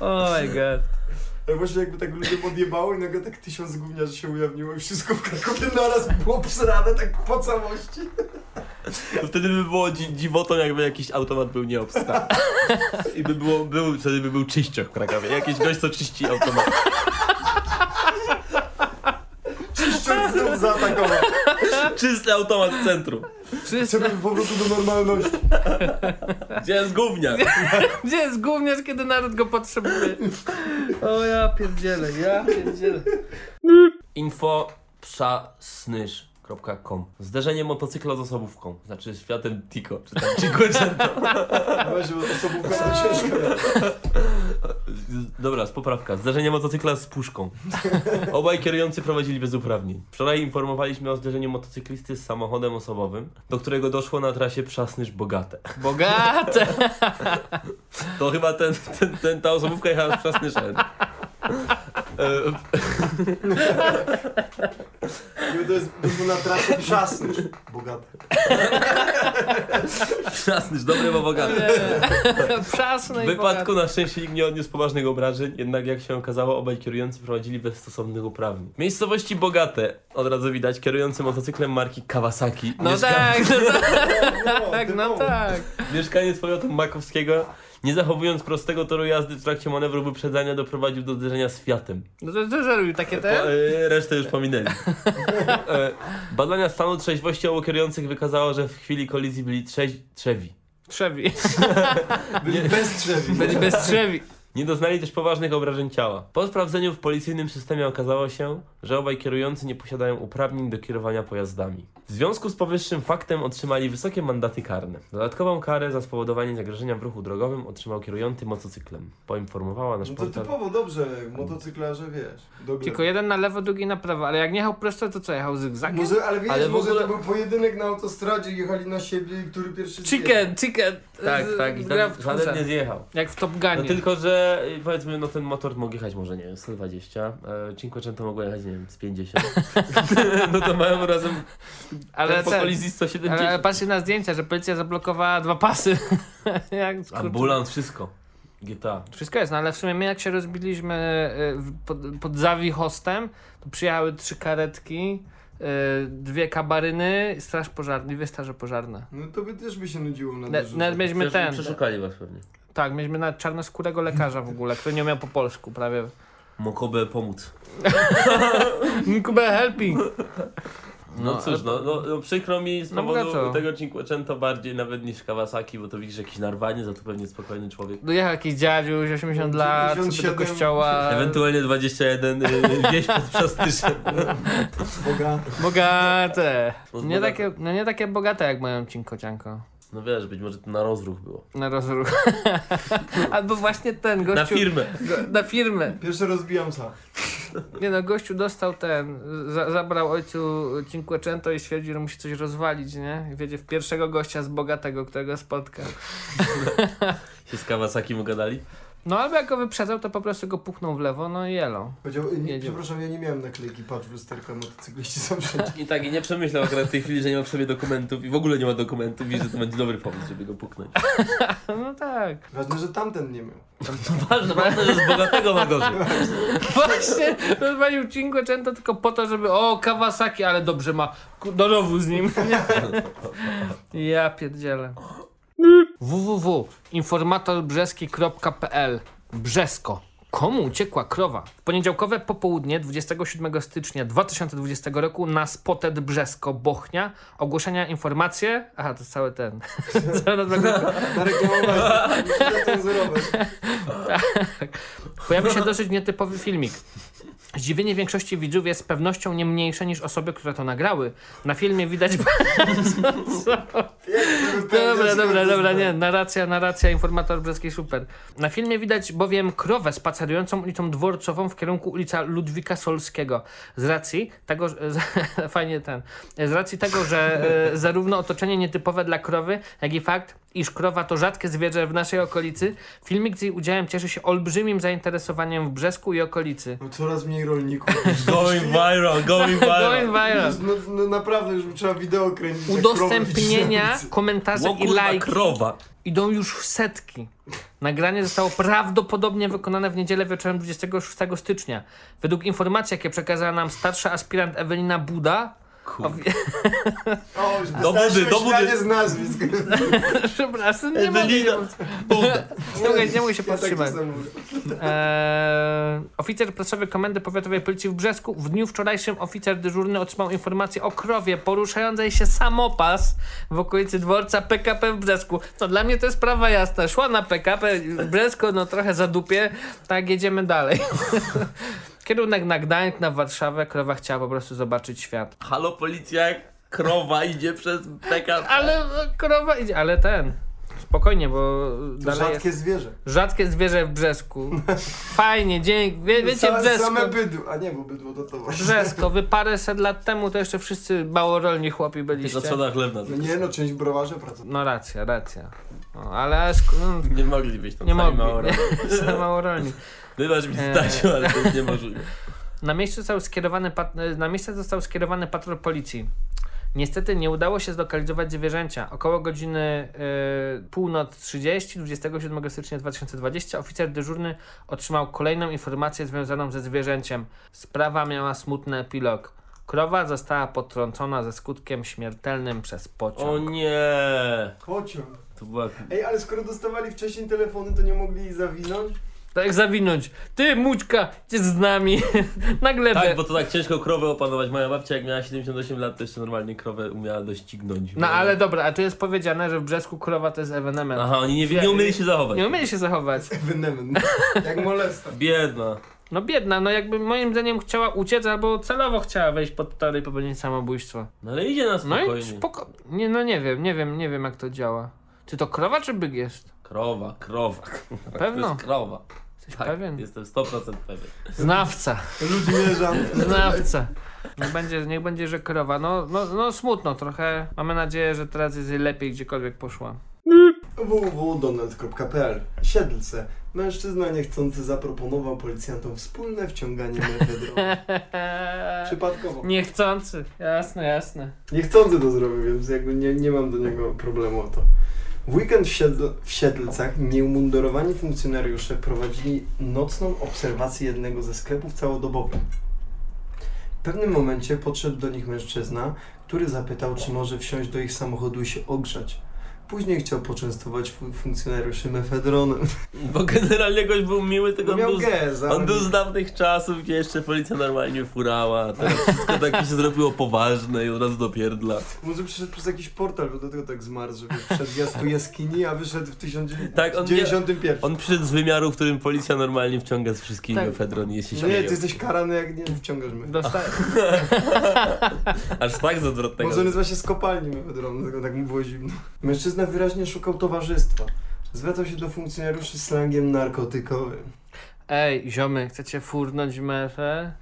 Oh my god.
Ale właśnie jakby tak ludzie podjebało i nagle tak tysiąc gówniarzy się ujawniło i wszystko w Krakowie naraz było przerane tak po całości.
To wtedy by było dzi- dziwotą, jakby jakiś automat był nieobstawny. I by było, był, wtedy by był czyścioch w Krakowie. Jakiś gość, co czyści automat.
Czyszcząc znów zaatakował.
Czysty automat w centrum.
Wszyscy...
Chcemy powrotu do normalności.
Gdzie jest gówniarz?
Gdzie jest gówniarz, kiedy naród go potrzebuje? O ja pierdzielę, ja pierdzielę.
infoprzasnysz.com Zderzenie motocykla z osobówką. Znaczy z Fiatem Tico, czy tam Cinquecento.
Właśnie, bo osobówka to ciężko.
Dobra, z poprawka. Zderzenie motocykla z puszką. Obaj kierujący prowadzili bez uprawnień. Wczoraj informowaliśmy o zderzeniu motocyklisty z samochodem osobowym, do którego doszło na trasie Przasnysz-Bogate.
Bogate.
To chyba ten, ten, ten, ta osobówka jechała z Przasnyszem. E,
I to jest to było na trasie przasnysz. Bogate.
Przasnysz, dobry bo bogaty.
Przasny
W
No i
wypadku
bogaty.
na szczęście nikt nie odniósł poważnych obrażeń, jednak jak się okazało, obaj kierujący prowadzili bez stosownych uprawnień. W miejscowości Bogate od razu widać kierujący motocyklem marki Kawasaki.
No
mieszka-
tak, no tak,
No,
tak, no tak.
Mieszkaniec powiatu makowskiego, nie zachowując prostego toru jazdy w trakcie manewru wyprzedzania, doprowadził do zderzenia z Fiatem.
No to, to zrobił takie
Po,
te?
e, resztę już pominęli. E, badania stanu trzeźwości obu kierujących wykazało, że w chwili kolizji byli trzeź- trzewi.
Trzewi.
Byli bez drzewi.
Byli bez trzewi.
Nie doznali też poważnych obrażeń ciała. Po sprawdzeniu w policyjnym systemie okazało się, że obaj kierujący nie posiadają uprawnień do kierowania pojazdami. W związku z powyższym faktem otrzymali wysokie mandaty karne. Dodatkową karę za spowodowanie zagrożenia w ruchu drogowym otrzymał kierujący motocyklem. Poinformowała nasz
No to
portal.
typowo dobrze, motocyklarze wiesz. Dobre.
Tylko jeden na lewo, drugi na prawo, ale jak nie jechał prosto, to co, jechał zygzakiem?
Może, ale wiesz,
Ale w
może
ogóle-
to był pojedynek na autostradzie, jechali na siebie, który pierwszy zjedzie.
Chicken, chicken.
Tak,
Z-
tak, i
gra
tam
w
żaden
tchórze.
nie zjechał.
Jak w Top
No
Gunie.
tylko, że y, powiedzmy, no ten motor mógł jechać może, nie wiem, 120, e, Cinquecento mogło jechać, nie wiem, z 50. no to mają razem
ale
po
ten-
kolizji 170.
Ale patrzcie na zdjęcia, że policja zablokowała dwa pasy. jak, kurczę.
Ambulans, wszystko. GTA.
Wszystko jest, no ale w sumie my jak się rozbiliśmy e, w- pod, pod Zawichostem, to przyjechały trzy karetki, e, dwie kabaryny, straż pożarna, dwie straże pożarne.
No to by też by się nudziło na
Na-
dużo.
Nawet mieliśmy
Przecież
ten,
Przeszukali was pewnie.
tak, mieliśmy nawet czarnoskórego lekarza w ogóle, który nie umiał po polsku prawie.
Mokobę pomóc.
Kubę helping!
No,
No,
cóż, no, no, no przykro mi z
No,
powodu
no co?
tego Cinquecento bardziej nawet niż Kawasaki, bo to widzisz jakiś narwanie, za to pewnie spokojny człowiek.
Dojechał jakiś dziadziuś, 80 lat, sobie do
97.
kościoła.
Ewentualnie 21 y, wieś pod przestyżem.
Boga.
Bogate.
No,
Nie
bogate.
takie, no nie takie bogate jak moją cinkocianko.
No wiesz, być może to na rozruch było.
Na rozruch. Albo właśnie ten gościu.
Na firmę.
go- Na firmę.
Pierwszy rozbijam psa.
Nie no, gościu dostał ten, za, zabrał ojcu Cinquecento i stwierdził, że musi coś rozwalić, nie? I wiedzie w pierwszego gościa z bogatego, którego spotka.
Się z Kawasaki mu gadali.
No albo jak go wyprzedzał, to po prostu go puchnął w lewo, no i jelo.
Powiedział, nie,
Jedziemy.
przepraszam, ja nie miałem naklejki, patrz w lusterko, motocykliści są wszędzie.
I tak, i nie przemyślał akurat w tej chwili, że nie ma w sobie dokumentów i w ogóle nie ma dokumentów i że to będzie dobry pomysł, żeby go puknąć.
No tak.
Ważne, że tamten nie miał.
Ważne, ważne, że z bogatego ma gorzej.
Właśnie rozwalił Cinquecento tylko po to, żeby o, Kawasaki, ale dobrze ma ku- do rowu z nim. ja pierdzielę. www.informatorbrzeski.pl Brzesko. Komu uciekła krowa? W poniedziałkowe popołudnie 27 stycznia 2020 roku na Spoted Brzesko Bochnia ogłoszenia informacje... Aha, to jest cały ten... cały ten
Zareklamować, nie cenzurować.
Pojawił się dosyć nietypowy filmik. Zdziwienie większości widzów jest z pewnością nie mniejsze niż osoby, które to nagrały. Na filmie widać No Dobra, dobra, dobra, nie, narracja, narracja, informator brzeski, super. Na filmie widać bowiem krowę spacerującą ulicą dworcową w kierunku ulica Ludwika Solskiego. Z racji tego, że- z- fajnie ten, z racji tego, że e, zarówno otoczenie nietypowe dla krowy, jak i fakt, iż krowa to rzadkie zwierzę w naszej okolicy, filmik z jej udziałem cieszy się olbrzymim zainteresowaniem w Brzesku i okolicy.
No coraz mniej rolników.
Going viral, going
Going
viral.
viral.
No, no naprawdę, już trzeba wideo kręcić. jak
Udostępnienia,
krowy
O
komentarze i
No kurwa,
lajki.
krowa.
idą już w setki. Nagranie zostało prawdopodobnie wykonane w niedzielę wieczorem 26 stycznia. Według informacji, jakie przekazała nam starsza aspirant Ewelina Buda,
Kurwa.
O, już
Do budy,
wystarczyło
do budy.
śmianie z nazwisk.
przepraszam, nie mogę, nie,
Ewelina. Buda.
nie mogę, nie mogę się
Ja tak
powstrzymać.
czasem mówię.
Eee, oficer prasowy Komendy Powiatowej Policji w Brzesku w dniu wczorajszym oficer dyżurny otrzymał informację o krowie poruszającej się samopas w okolicy dworca PKP w Brzesku. No dla mnie to jest sprawa jasna. Szła na PKP, Brzesko no trochę za dupie, tak jedziemy dalej. Kierunek na Gdańsk, na Warszawę, krowa chciała po prostu zobaczyć świat.
Halo policja, krowa idzie przez PKP.
Ale e, krowa idzie, ale ten... Spokojnie, bo
To
dalej jest.
rzadkie zwierzę.
Rzadkie zwierzę w Brzesku. Fajnie, dzięki. Wie, wiecie,
Sa-
Brzesko.
Same bydło, a nie, bo bydło to to właśnie.
Brzesko, wy paręset lat temu to jeszcze wszyscy małorolni chłopi byliście.
Tylko trzeba chlebna.
No nie, no część browarze pracuje.
No racja, racja. No, ale aż, k- no,
Nie mogli być tam
nie
sami
mogli.
mało razy.
Nie, za małorolni.
Wybacz mi
Eee.
Stasiu, ale to jest niemożliwe.
Na miejsce, został skierowany pat- e, na miejsce został skierowany patrol policji. Niestety nie udało się zlokalizować zwierzęcia. Około godziny y, północ 30, 27 stycznia 2020 oficer dyżurny otrzymał kolejną informację związaną ze zwierzęciem. Sprawa miała smutny epilog. Krowa została potrącona ze skutkiem śmiertelnym przez pociąg.
O nie.
Pociąg.
To była...
Ej, ale skoro dostawali wcześniej telefony, to nie mogli ich zawinąć?
Tak zawinąć. Ty, Mućka, idź z nami na glebę.
Tak, bo to tak ciężko krowę opanować. Moja babcia jak miała 78 lat, to jeszcze normalnie krowę umiała doścignąć.
No ale dobra, a tu jest powiedziane, że w Brzesku krowa to jest ewenement.
Aha, oni nie, nie umieli się zachować.
Nie umieli się zachować.
Wynemen. Jak molesta.
Biedna.
No biedna, no jakby moim zdaniem chciała uciec albo celowo chciała wejść pod tory i popełnić samobójstwo.
No ale idzie na
No i
spokojnie.
spoko... Nie, no nie wiem, nie wiem, nie wiem jak to działa. Czy to krowa czy byk jest?
Krowa, krowa.
Na
Tak, To
pewno.
jest krowa.
Jesteś
Tak,
pewien?
jestem 100% pewien.
Znawca,
Ludmierzan.
znawca. Niech będzie, niech będzie, że krowa. No, no, no smutno trochę. Mamy nadzieję, że teraz jest jej lepiej gdziekolwiek poszła.
www.donald.pl Siedlce. Mężczyzna niechcący zaproponował policjantom wspólne wciąganie mefedronu. Przypadkowo.
Niechcący. Jasne, jasne.
Niechcący to zrobił, więc jakby nie, nie mam do niego problemu o to. W weekend w, siedl- w Siedlcach nieumundurowani funkcjonariusze prowadzili nocną obserwację jednego ze sklepów całodobowych. W pewnym momencie podszedł do nich mężczyzna, który zapytał, czy może wsiąść do ich samochodu i się ogrzać. Później chciał poczęstować fun- funkcjonariuszy mefedronem.
Bo generalnie gość był miły, tylko on
Miał
był,
gez, ale-
on był z dawnych czasów, gdzie jeszcze policja normalnie furała, a teraz wszystko tak się zrobiło poważne i od razu dopierdla.
Może przyszedł przez jakiś portal, bo do tego tak zmarł, żeby wszedł w jasku jaskini, a wyszedł w 1991.
Tak, on nie- On przyszedł z wymiaru, w którym policja normalnie wciąga z wszystkimi
Tak.
mefedron i jeśli się
No Nie,
śmieją.
ty jesteś karany, jak nie wciągasz mnie.
Dosta-
Aż tak z odwrotnego.
Może nazywa się z kopalni mefedronu, tylko tak mu było zimno. Mężczyzna wyraźnie szukał towarzystwa. Zwracał się do funkcjonariuszy slangiem narkotykowym.
Ej, ziomy, chcecie furnąć mefę?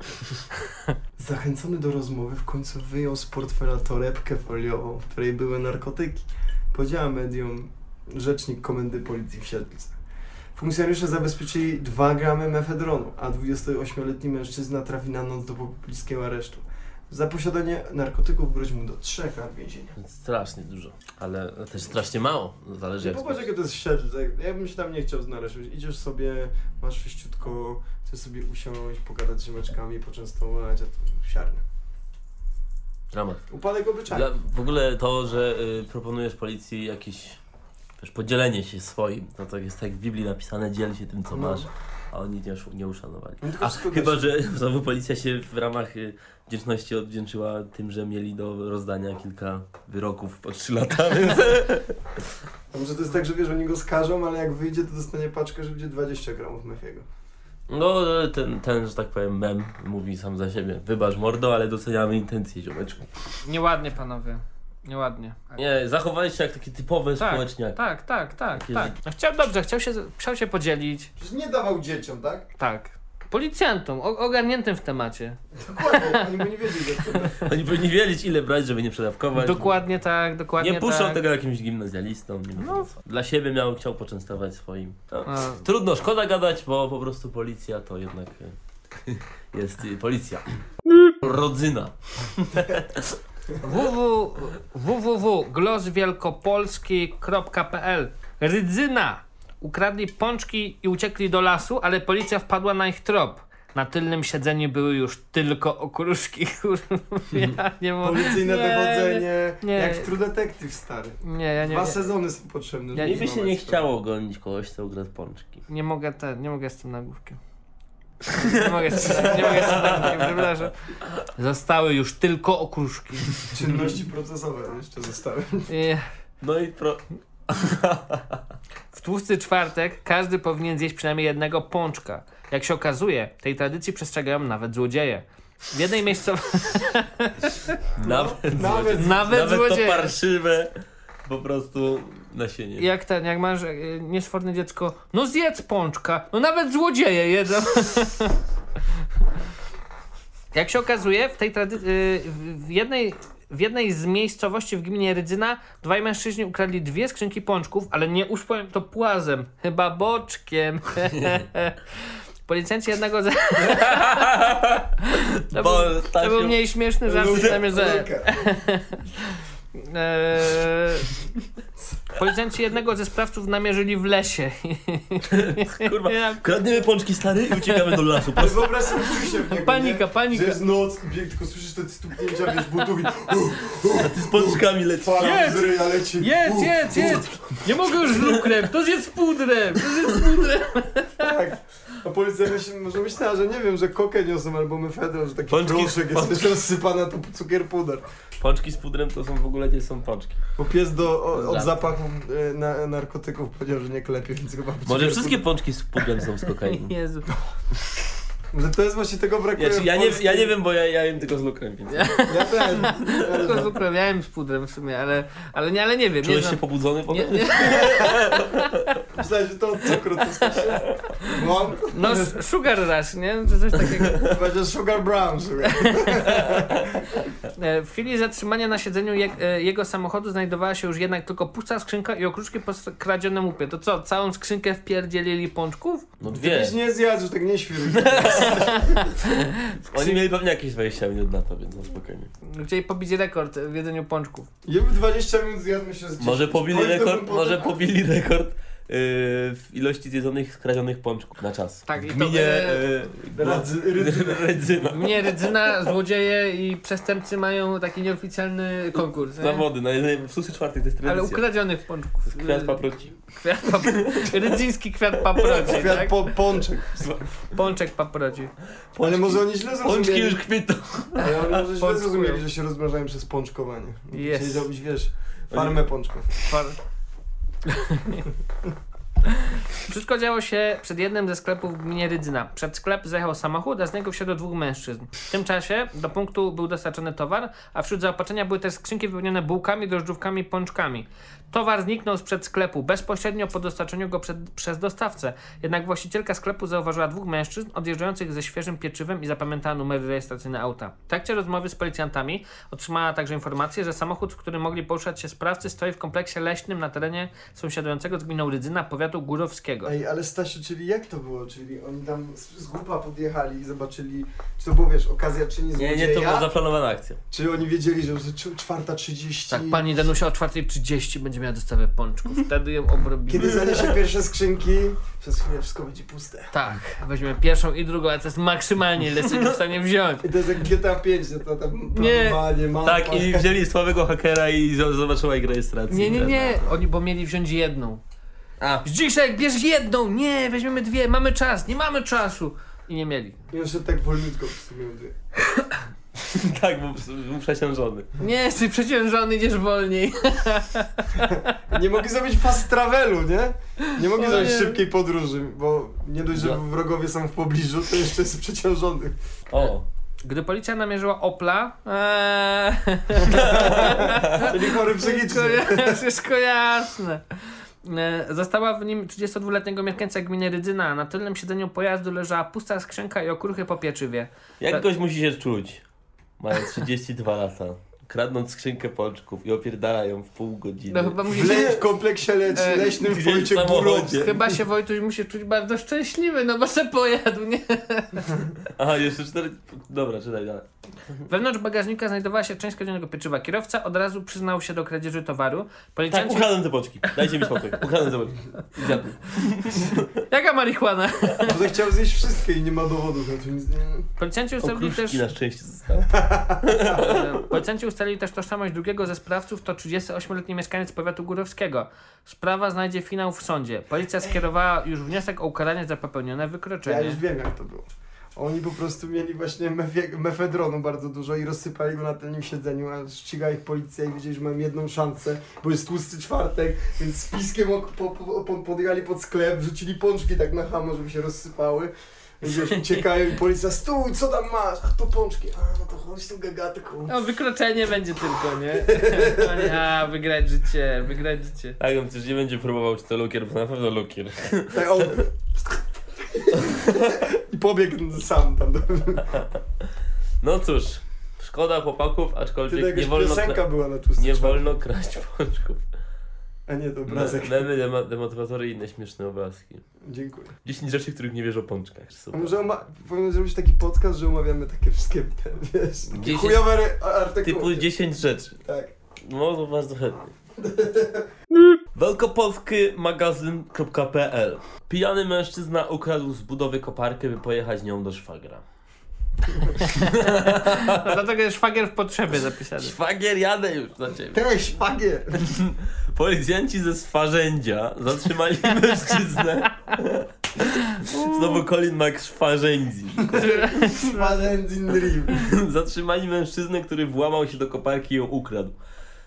Zachęcony do rozmowy w końcu wyjął z portfela torebkę foliową, w której były narkotyki. Podziała medium rzecznik Komendy Policji w Siedlcach. Funkcjonariusze zabezpieczyli 2 gramy mefedronu, a 28-letni mężczyzna trafi na noc do pobliskiego aresztu. Za posiadanie narkotyków grozi mu do 3 lat więzienia.
Strasznie dużo, ale też strasznie mało. Zależy
Nie
jak
popatrz jakie to jest siedlce. Ja bym się tam nie chciał znaleźć. Idziesz sobie, masz sześciutko, chcesz sobie usiąść, pogadać z ziomeczkami, poczęstować, a to siarnia.
Dramat.
Upadek obyczajny.
Dla, w ogóle to, że y, proponujesz policji jakieś też podzielenie się swoim, no to jest tak jak w Biblii napisane, dziel się tym, co
No.
masz, a oni nie, usz- nie uszanowali.
No tylko
A,
wszystko
chyba,
też-
że znowu policja się w ramach y, wdzięczności odwdzięczyła tym, że mieli do rozdania kilka wyroków po 3 lata, więc
A może to jest tak, że wiesz, oni go skażą, ale jak wyjdzie, to dostanie paczkę, że będzie 20 gramów mefiego.
no y, ten, ten, że tak powiem, mem mówi sam za siebie. Wybacz mordo, ale doceniamy intencje ziomeczku.
Nieładnie, panowie. Nieładnie.
Nie, zachowali się jak takie typowe
Tak,
społeczniaki.
Tak, tak, tak,
Takie
tak. No Chciał, dobrze, chciał się, chciał się podzielić.
Przecież nie dawał dzieciom, tak?
Tak. Policjantom, o, ogarniętym w temacie.
Dokładnie, oni by nie wiedzieli, jak to tak.
Oni powinni wiedzieć, ile brać, żeby nie przedawkować.
Dokładnie tak, dokładnie
nie puszczą
tak.
tego jakimś gimnazjalistom. Nie no. Dla siebie miał, chciał poczęstować swoim. No.
A,
Trudno, szkoda gadać, bo po prostu policja to jednak e, jest e, policja. Rodzyna.
www- www.gloswielkopolski.pl Rydzyna! Ukradli pączki i uciekli do lasu, ale policja wpadła na ich trop. Na tylnym siedzeniu były już tylko okruszki, kurwa. Ja nie mogę.
Policyjne
Nie,
dowodzenie,
nie.
jak w True Detective, stary.
Nie, ja nie,
Dwa
nie,
sezony są potrzebne,
Ja
żeby
Niby się
złamać
nie
to.
chciało gonić kogoś, co ukradł pączki.
nie mogę ten, nie mogę z tym nagłówkiem. Nie mogę, z- nie mogę z tym nagłówkiem, przepraszam. Zostały już tylko okruszki.
Czynności procesowe jeszcze zostały.
I
No i pro...
W tłusty czwartek każdy powinien zjeść przynajmniej jednego pączka. Jak się okazuje, tej tradycji przestrzegają nawet złodzieje. W jednej miejscowości...
No, Nawet,
Nawet,
Nawet,
nawet to
złodzieje!
parszywe po prostu nasienie.
Jak ten, jak masz e, niesforne dziecko, no zjedz pączka, no nawet złodzieje jedzą. jak się okazuje, w tej tradycji... W jednej... W jednej z miejscowości w gminie Rydzyna dwaj mężczyźni ukradli dwie skrzynki pączków, ale nie uszło im to płazem, chyba boczkiem. Policjanci jednego za... To
Bo
był, to
Stasiu-
był mniej śmieszny żart niż zamierzałem.
Lulka.
Eee, Policjanci jednego ze sprawców namierzyli w lesie.
Kurwa, kradniemy pączki stary i uciekamy do lasu.
Ale wyobraź sobie, czuj się w niego,
Panika,
nie?
panika.
Że jest noc i bieg, tylko słyszysz te stuknięcia, wiesz, butów i
A ty z pączkami lecisz.
fala
Jedz!
z ryja leci.
Jedz,
Uh,
jedz,
uh.
jedz! Nie mogę już z lukrem, to jest z pudrem, to jest z pudrem.
Tak. A policja myśl, może myślała, że nie wiem, że kokę niosą albo mefedron, że taki
Pączki-
proszek jest
pączki.
jeszcze rozsypana to cukier puder.
Pączki z pudrem to są w ogóle nie są pączki.
Bo pies do, o,
Żart.
od zapachu e, na, narkotyków powiedział, że nie klepie, więc chyba
Może
cukier
wszystkie pączki z pudrem są z kokainą.
Jezu.
puder. Może to jest właśnie tego brakuje
Ja, czy, ja,
w
nie,
polskiej-
ja nie wiem, bo ja, ja jem tylko z lukrem, więc
Ja też. E,
Tylko z lukrem, ja jem z pudrem w sumie, ale, ale, nie, ale nie wiem. Nie
czułeś się
znam.
pobudzony po
Nie,
tym?
nie.
Myślałem, że to od cukru to się. Mam,
No, s- sugar rush, nie? Czy coś takiego.
będzie sugar brown, sugar.
E, W chwili zatrzymania na siedzeniu je, e, jego samochodu znajdowała się już jednak tylko pusta skrzynka i okruszki po s- kradzionym łupie. To co, całą skrzynkę wpierdzielili pączków?
No dwie.
Wiesz, nie zjadł, tak nie świruj.
Oni mieli pewnie jakieś 20 minut na to, więc na spokojnie.
Chcieli pobić rekord w jedzeniu pączków.
Jemy 20 minut, zjadł się z 10.
Może pobili
Chodź do
rekord,
roboty.
może pobili rekord y, w ilości zjedzonych, skradzionych pączków na czas.
Tak, i
w
to-
gminie
e,
e,
Radzy-
Gło-
Rydzyna.
Rydzyna.
Mnie Rydzyna, złodzieje i przestępcy mają taki nieoficjalny konkurs. nie?
Zawody, na jednej- no, w susy czwartej to jest
Ale
tradycja.
ukradzionych pączków.
Kwiat paproci.
Kwiat paproci. Rydzyński kwiat paproci,
Kwiat
tak?
po, pączek.
Pączek paproci.
Ale może oni źle
Pączki
zrozumieli.
już kwitną.
Ale oni może źle
Pączkują.
zrozumieli, że się rozmnażają przez pączkowanie.
Yes.
Chcieli zrobić, wiesz, farmę pączków.
Par... Wszystko działo się przed jednym ze sklepów w gminie Rydzyna. Przed sklep zajechał samochód, a z niego wsiadło dwóch mężczyzn. W tym czasie do punktu był dostarczony towar, a wśród zaopatrzenia były też skrzynki wypełnione bułkami, drożdżówkami, pączkami. Towar zniknął sprzed sklepu bezpośrednio po dostarczeniu go przed, przez dostawcę. Jednak właścicielka sklepu zauważyła dwóch mężczyzn odjeżdżających ze świeżym pieczywem i zapamiętała numery rejestracyjne auta. W trakcie rozmowy z policjantami otrzymała także informację, że samochód, w którym mogli poruszać się sprawcy, stoi w kompleksie leśnym na terenie sąsiadującego z gminą Rydzyna powiatu górowskiego.
Ej, ale Stasiu, czyli jak to było? Czyli oni tam z, z grupa podjechali i zobaczyli, czy to było, wiesz, okazja czy nie
Nie,
złodzieja?
nie, to była zaplanowana akcja.
Czy oni wiedzieli, że już cz- 4.30...
Tak, pani Danusia o 4.30 będzie miała dostawę pączków. Wtedy ją obrobimy.
Kiedy zaniesie pierwsze skrzynki, przez chwilę wszystko będzie puste.
Tak, weźmiemy pierwszą i drugą, ale to jest maksymalnie, ile jesteśmy w stanie wziąć.
I to jest jak GTA 5, no to tam
Nie.
panie, mapa.
Tak, i wzięli słabego hakera i z- zobaczyła ich rejestrację.
Nie, nie, nie, oni bo mieli wziąć jedną.
A,
Zdziszek, bierz jedną! Nie, weźmiemy dwie, mamy czas, nie mamy czasu! I nie mieli.
I on szedł tak wolniutko w sumie.
tak, bo był przesiążony.
Nie, jesteś przeciążony, idziesz wolniej.
Nie mogli zrobić fast travelu, nie? Nie mogli
O
zrobić
nie.
szybkiej podróży, bo nie dość, że
Ja.
wrogowie są w pobliżu, to jeszcze jest przeciążony.
O,
Gdy policja namierzyła Opla... Eee,
Czyli chory psychicznie.
wszystko, ja- wszystko jasne. E, Zastała w nim 32-letniego mieszkańca gminy Rydzyna. a Na tylnym siedzeniu pojazdu leżała pusta skrzynka i okruchy po pieczywie.
jak
Tak.
ktoś musi się czuć, mając 32 lata, kradnąc skrzynkę pączków i opierdalają w pół godziny.
No chyba
W,
musi
le-
się,
w kompleksie lec-
E,
leśnym w
gdzieś w
powiecie
samochodzie.
górowskim.
chyba się Wojtuś musi czuć bardzo szczęśliwy, no bo se pojadł, nie?
Aha, jeszcze cztery... Dobra, czytaj dalej.
Wewnątrz bagażnika znajdowała się część kradzionego pieczywa. Kierowca od razu przyznał się do kradzieży towaru.
Tak,
Policjanci...
ukradłem te pączki. Dajcie mi spokój. Ukradłem te pączki. I zjadłem.
Jaka marihuana?
Może chciał zjeść wszystkie i nie ma dowodów na to nic. Nie.
Policjanci ustalili, też,
Okruszki na szczęście zostały.
e, policjanci ustalili też tożsamość drugiego ze sprawców, to 38-letni mieszkaniec powiatu górowskiego. Sprawa znajdzie finał w sądzie. Policja skierowała już wniosek o ukaranie za popełnione
Ja
wykroczenie.
już wiem jak to było. Oni po prostu mieli właśnie mefie- mefedronu bardzo dużo i rozsypali go na tylnym siedzeniu, a ściga ich policja i wiedzieli, że mają jedną szansę, bo jest tłusty czwartek, więc z piskiem ok- po- po- po- podjechali pod sklep, rzucili pączki tak na hamo, żeby się rozsypały. Więc wiesz, uciekają i policja, stój, co tam masz? Ach, to pączki. A, no to chodź tu gagatku.
No, wykroczenie będzie tylko, nie? Oni, A, wygrać życie, wygrać życie.
Tak, on przecież nie będzie próbował, czy to lukier, bo to na pewno lukier.
Tak, on... I pobiegł sam tam. do-
No cóż, szkoda chłopaków,
To
aczkolwiek nie
jakaś
wolno,
piosenka
kra-
była na tłusty
nie
czwartek.
wolno No, kraść pączków.
A nie, to obrazek.
Me- Memy, dema- demotywatory i inne śmieszne obrazki.
Dziękuję.
10 rzeczy, których nie wiesz o pączkach.
A
Super.
może oma- powinien zrobić taki podcast, że omawiamy takie wszystkie, te, wiesz, takie
Dziesięć-
chujowe re- artykuły.
Typu 10 rzeczy.
Tak.
No, to bardzo chętnie. Wielkopolski magazyn.pl Pijany mężczyzna ukradł z budowy koparkę, by pojechać nią do szwagra.
No, dlatego jest szwagier w potrzebie zapisany.
Szwagier, jadę już na ciebie.
Teraz szwagier!
Policjanci ze Swarzędzia zatrzymali mężczyznę. Znowu Colin Mac Swarzędzi.
Szwagier in dream.
Zatrzymali mężczyznę, który włamał się do koparki i ją ukradł.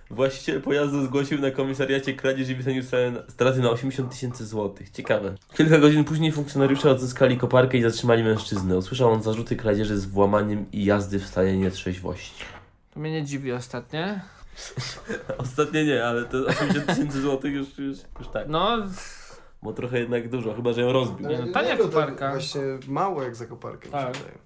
Właściciel pojazdu zgłosił na komisariacie kradzież i wycenił stratę- straty na 80 tysięcy złotych. Ciekawe. Kilka godzin później funkcjonariusze odzyskali koparkę i zatrzymali mężczyznę. Usłyszał on zarzuty kradzieży z włamaniem i jazdy w stanie nietrzeźwości.
To mnie nie dziwi ostatnio.
Ostatnie nie, ale te 80 tysięcy złotych już, już, już tak.
No,
Bo trochę jednak dużo, chyba że ją rozbił.
no,
Ale
tania
to
koparka.
Właśnie mało jak za koparkę, mi
Tak.
się wydaje.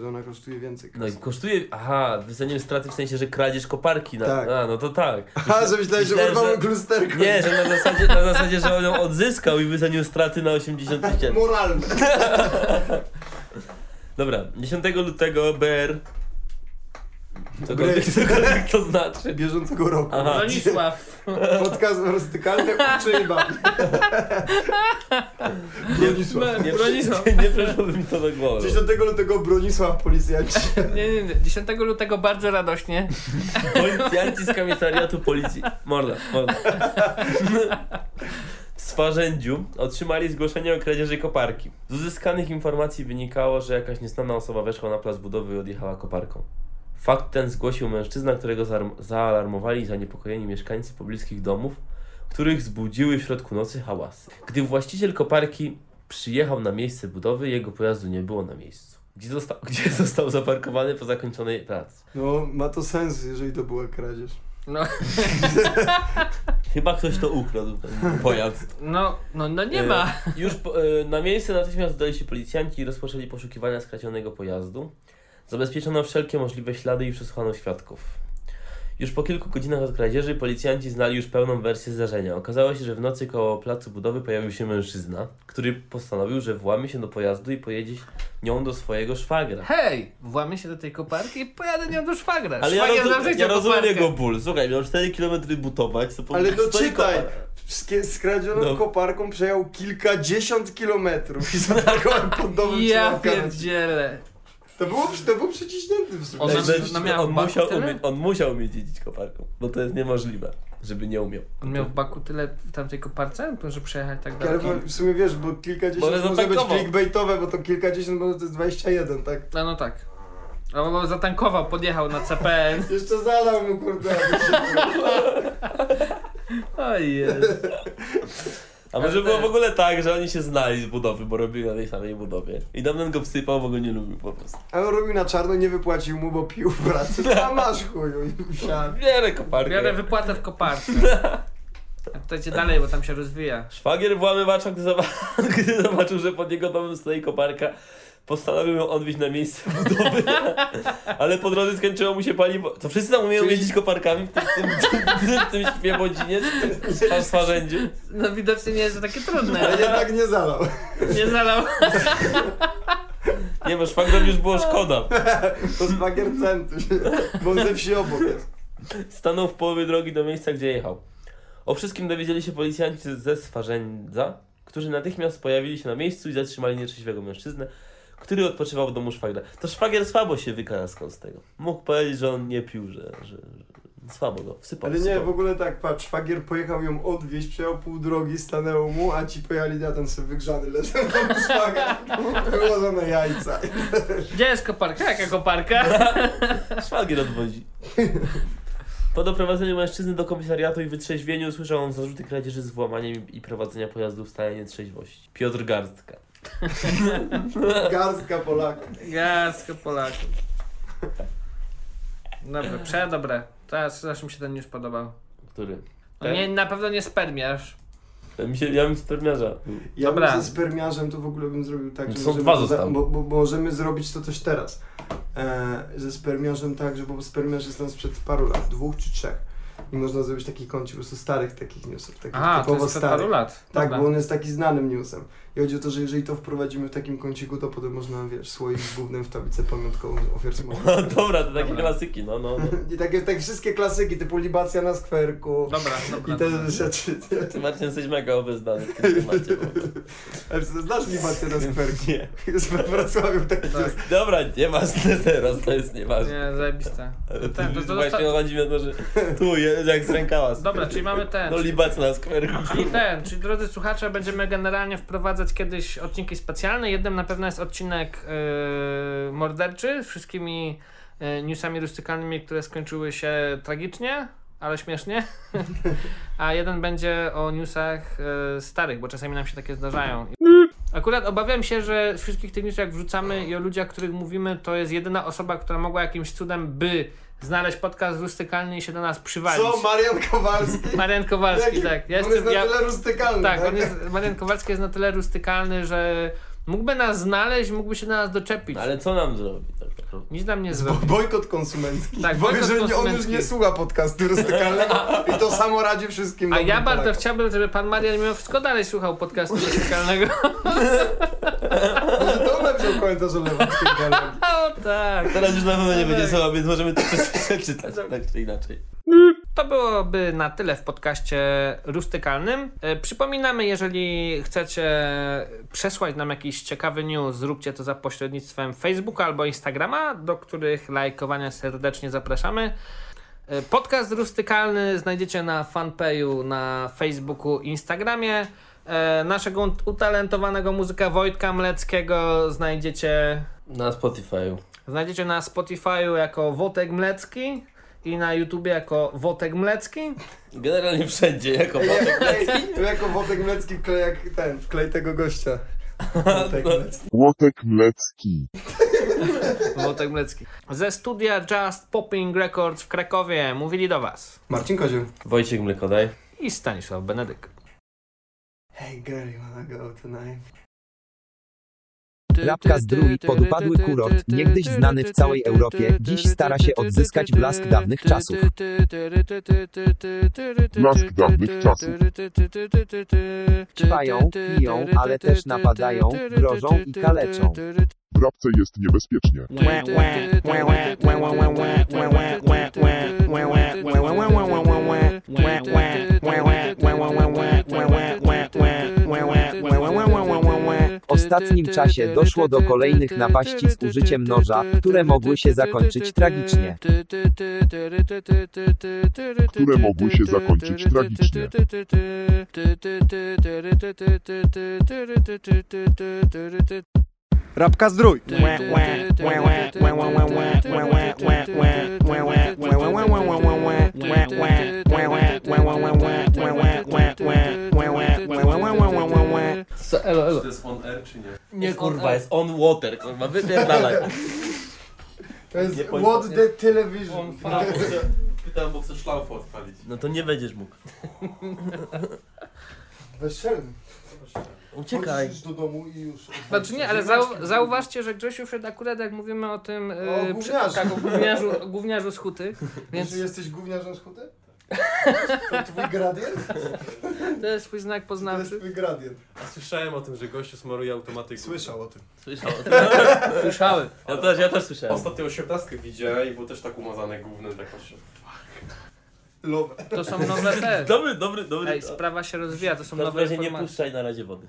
Że ona kosztuje więcej
No i
kasy.
kosztuje. Aha, wyceniłem straty w sensie, że kradzież koparki. Na,
Tak.
A, no to tak.
Aha, że myślałeś, że
myślałem,
urwamy
że-
klusterko.
Nie, że na zasadzie, na zasadzie że on ją odzyskał i wycenił straty na 80 tysięcy.
Moralne.
Dobra, 10 lutego BR Cokolwiek, cokolwiek to znaczy.
bieżącego roku.
No Bronisław.
Podcast roztykalny uczy babki. Bronisław.
Nie,
Bronisław.
nie przyszłoby mi to do głowy.
10 lutego Bronisław policjanci.
Nie, nie, nie. 10 lutego bardzo radośnie.
Policjanci z komisariatu policji. Morda, morda. W Swarzędziu otrzymali zgłoszenie o kradzieży koparki. Z uzyskanych informacji wynikało, że jakaś nieznana osoba weszła na plac budowy i odjechała koparką. Fakt ten zgłosił mężczyzna, którego zaarm- zaalarmowali zaniepokojeni mieszkańcy pobliskich domów, których zbudziły w środku nocy hałasy. Gdy właściciel koparki przyjechał na miejsce budowy, jego pojazdu nie było na miejscu. Gdzie został, gdzie został zaparkowany po zakończonej pracy.
No, ma to sens, jeżeli to była kradzież.
No,
Chyba ktoś to ukradł, ten pojazd.
no, no, no nie
E,
ma.
Już po, e, na miejsce natychmiast udali się policjanci i rozpoczęli poszukiwania skradzionego pojazdu. Zabezpieczono wszelkie możliwe ślady i przesłuchano świadków. Już po kilku godzinach od kradzieży policjanci znali już pełną wersję zdarzenia. Okazało się, że w nocy koło placu budowy pojawił się mężczyzna, który postanowił, że włamie się do pojazdu i pojedzie nią do swojego szwagra.
Hej, włamy się do tej koparki i pojadę nią do szwagra.
Ale ja,
Szwagier
rozum,
zawsze
ja
chciał
rozumiem
koparkę.
jego ból. Słuchaj, miał 4 km butować, to po
Ale no
prostu stoi
czytaj!
kopar-
Skie- Skradzioną
No.
koparką przejął kilkadziesiąt kilometrów i zaparkował pod domem
Ja
przy okazji.
pierdzielę.
To było, to był przyciśnięty w sumie.
Ona-
Ej, że-
ona miała
on,
w banku
musiał
tyle?
umie, on musiał umieć jeździć koparką, bo to jest niemożliwe, żeby nie umiał.
On miał w baku tyle w tamtej koparce, że przejechać tak
Ale
daleko.
w sumie wiesz, bo
Może
kilkadziesiąt może być
zatankował.
clickbaitowe, bo to kilkadziesiąt, bo to jest 21, tak?
No, no tak. A on zatankował, podjechał na CPN.
Jeszcze zalał mu kurde.
Oj,
A może
Ale
było
te-
w ogóle tak, że oni się znali z budowy, bo robili na tej samej budowie. I Damian go wsypał, bo go nie lubił po prostu.
A on robił na czarno, nie wypłacił mu, bo pił w pracy. No, A masz chuju. i wsiadł.
Bierę koparkę.
biorę wypłatę w koparce. A Pytajcie dalej, bo tam się rozwija.
Szwagier włamywacza, gdy, zoba- gdy zobaczył, że pod jego domem stoi koparka, postanowił ją odbić na miejsce budowy. Ale po drodze skończyło mu się paliwo. To wszyscy tam umieją
Czyli-
jeździć koparkami w tym, w tym, w tym, w tym śpiewodzinie, w tym swarzędziu.
No widocznie nie jest to takie
A
trudne.
jednak nie zalał.
Nie zalał.
Nie, bo szwagrowi już było szkoda.
To szwagier centuś. Bo on ze wsi obok jest.
Stanął w połowie drogi do miejsca, gdzie jechał. O wszystkim dowiedzieli się policjanci ze Swarzędza, którzy natychmiast pojawili się na miejscu i zatrzymali nietrzeźwego mężczyznę, który odpoczywał w domu szwagra. To szwagier słabo się wykaraskał z tego. Mógł powiedzieć, że on nie pił, że, że, że słabo go wsypał.
Ale nie,
wsypał.
w ogóle tak, patrz, szwagier pojechał ją odwieźć, przejął pół drogi, stanęło mu, a ci pojechali, ja ten sobie wygrzany leżał tam szwagier. Wyłożone jajca.
Gdzie jest koparka? Jaka koparka?
Szwagier odwozi. Po doprowadzeniu mężczyzny do komisariatu i wytrzeźwieniu słyszał on zarzuty kradzieży z włamaniem i prowadzenia pojazdu w stanie nietrzeźwości. Piotr Garstka.
Garstka Polaka.
Garstka Polaków. Dobra, przedobre. Teraz zawsze mi się ten news podobał.
Który?
No nie, na pewno nie spermiarz.
Mi się, ja bym spermiarza.
Ja
Dobra.
bym ze spermiarzem to w ogóle bym zrobił tak, że
Są
możemy,
dwa
to za-
zostały.
bo, bo, bo możemy zrobić to też teraz. E, ze spermiarzem tak, że bo spermiarz jest tam sprzed paru lat, dwóch czy trzech. I można zrobić taki kącik po prostu starych takich newsów, takich
Aha, to
typowo
jest sprzed
starych.
paru lat.
Tak,
Dobra.
bo on jest taki znanym newsem. I chodzi o to, że jeżeli to wprowadzimy w takim kąciku, to potem można, wiesz, słoik z głównym w tablicę pamiątkową ofiar smogu.
No dobra, to takie
Dobra.
klasyki, no, no, no.
I takie, takie wszystkie klasyki, typu libacja na skwerku
Dobra, dobra.
i te
dobra.
rzeczy.
Ty Marcin jesteś mega obeznany w tym temacie.
Ale Znasz libację na skwerku?
Nie.
Jest we Wrocławiu taki
Tak.
jest.
Dobra, nieważne teraz, to jest nieważne.
Nie, zajebiste.
Ale to
Tak, to,
już
to
właśnie
dosta-
chodzi mi o to, że tu jest jak z rękawa.
Dobra, czyli mamy ten.
No libac na skwerku.
Czyli ten, czyli drodzy słuchacze, będziemy generalnie wprowadzać kiedyś odcinki specjalne. Jednym na pewno jest odcinek yy, morderczy z wszystkimi yy, newsami rustykalnymi, które skończyły się tragicznie, ale śmiesznie. A jeden będzie o newsach yy, starych, bo czasami nam się takie zdarzają. Akurat obawiam się, że z wszystkich tych newsów, jak wrzucamy i o ludziach, których mówimy, to jest jedyna osoba, która mogła jakimś cudem by znaleźć podcast rustykalny i się do nas przywalić.
Co, Marian Kowalski?
Marian Kowalski,
Jaki-
tak. Ja
on
jestem,
jest na
ja,
tyle rustykalny, tak?
tak, on jest, Marian Kowalski jest na tyle rustykalny, że mógłby nas znaleźć, mógłby się do nas doczepić.
No, Ale co nam zrobi? tak naprawdę?
Nic nam nie
Bo,
zrobi.
bojkot konsumencki.
Tak,
Tak, Bo
bojkot
jeżeli on już
konsumencki.
nie słucha podcastu rustykalnego i to samo radzi wszystkim. tak.
A
dobrym
ja bardzo
Polakom.
chciałbym, żeby pan Marian mimo wszystko dalej słuchał podcastu rustykalnego.
Może Tomek wziął komentarz o lewym skrzydłem.
O tak.
Teraz już na pewno nie będzie słowa, więc możemy to przez- przeczytać, tak czy inaczej.
To byłoby na tyle w podcaście rustykalnym. E, Przypominamy, jeżeli chcecie przesłać nam jakiś ciekawy news, zróbcie to za pośrednictwem Facebooka albo Instagrama, do których lajkowania serdecznie zapraszamy. E, Podcast rustykalny znajdziecie na fanpage'u na Facebooku, Instagramie. E, Naszego ut- utalentowanego muzyka Wojtka Mleckiego znajdziecie
Na Spotify.
Znajdziecie na Spotify'u jako Wotek Mlecki i na YouTubie jako Wotek Mlecki.
Generalnie wszędzie, jako
Jak klej- Jako Wodek Mlecki klej jak ten, wklej tego gościa. Wodek Mlecki.
Łotek Mlecki.
Wotek Mlecki. tak Ze studia Just Popping Records w Krakowie mówili do Was
Marcin Koził.
Wojciech Mlekodaj.
i Stanisław Benedyk.
Hey girl, you wanna go tonight?
Lapka z Drui, podupadły kurort, niegdyś znany w całej Europie, dziś stara się odzyskać blask dawnych czasów.
Blask dawnych czasów.
Trwają, piją, ale też napadają, grożą i kaleczą.
W Rabce jest niebezpiecznie.
W ostatnim czasie doszło do kolejnych napaści z użyciem noża, które mogły się zakończyć tragicznie.
Które mogły się zakończyć tragicznie.
Rabka zdrój!
Czy to jest on air, czy nie? Nie, kurwa,
E.
jest on water, kurwa, wypierdalaj.
To jest
Nie powiem-
What the Television.
Pytam, bo chcę szlaufa odpalić.
No to nie będziesz mógł.
Bezczelny.
Uciekaj.
Chodzisz do domu i już.
Znaczy nie, ale zau- zauważcie, że Grzesiu wszedł akurat jak mówimy o tym
O
przy-
gówniarzu.
tak, o gówniarzu, o gówniarzu z huty,
Więc...
więc
Czy jesteś gówniarzem schuty? To twój gradient?
to jest swój
To
znak
jest
poznawczy.
twój gradient.
A słyszałem o tym, że gościu smaruje automatykę.
Słyszał o tym.
Słyszałem.
Słyszały.
Ja też, ja też słyszałem.
Ostatnio 18 widziałem i było też tak umazane gównem, tak patrzę.
Love.
To są nowe te.
Dobry, dobry, dobry.
Ej, sprawa się rozwija, to są
w każdym
nowe
razie nie
informacje.
puszczaj na razie wody.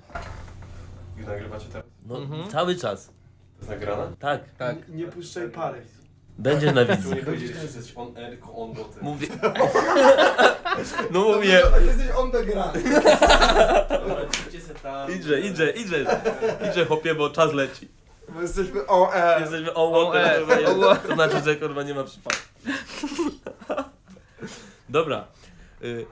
I Nagrywacie teraz?
No,
Mhm.
cały czas.
To jest nagrane?
Tak.
Nie- Nie puszczaj pary.
Będzie na
Tu
wizji.
nie powiedzieć, że jesteś on air, tylko on boty.
Mówię. No mówię.
Dobrze, Jesteś on the ground.
Dobra, idźcie se tam.
Idźże, idźże, idźże. Idźże, chłopie, bo czas leci.
Bo jesteśmy o e.
Jesteśmy o
O, e,
water, kurwa,
o,
nie- to znaczy, że kurwa nie ma przypadku. Dobra. Y,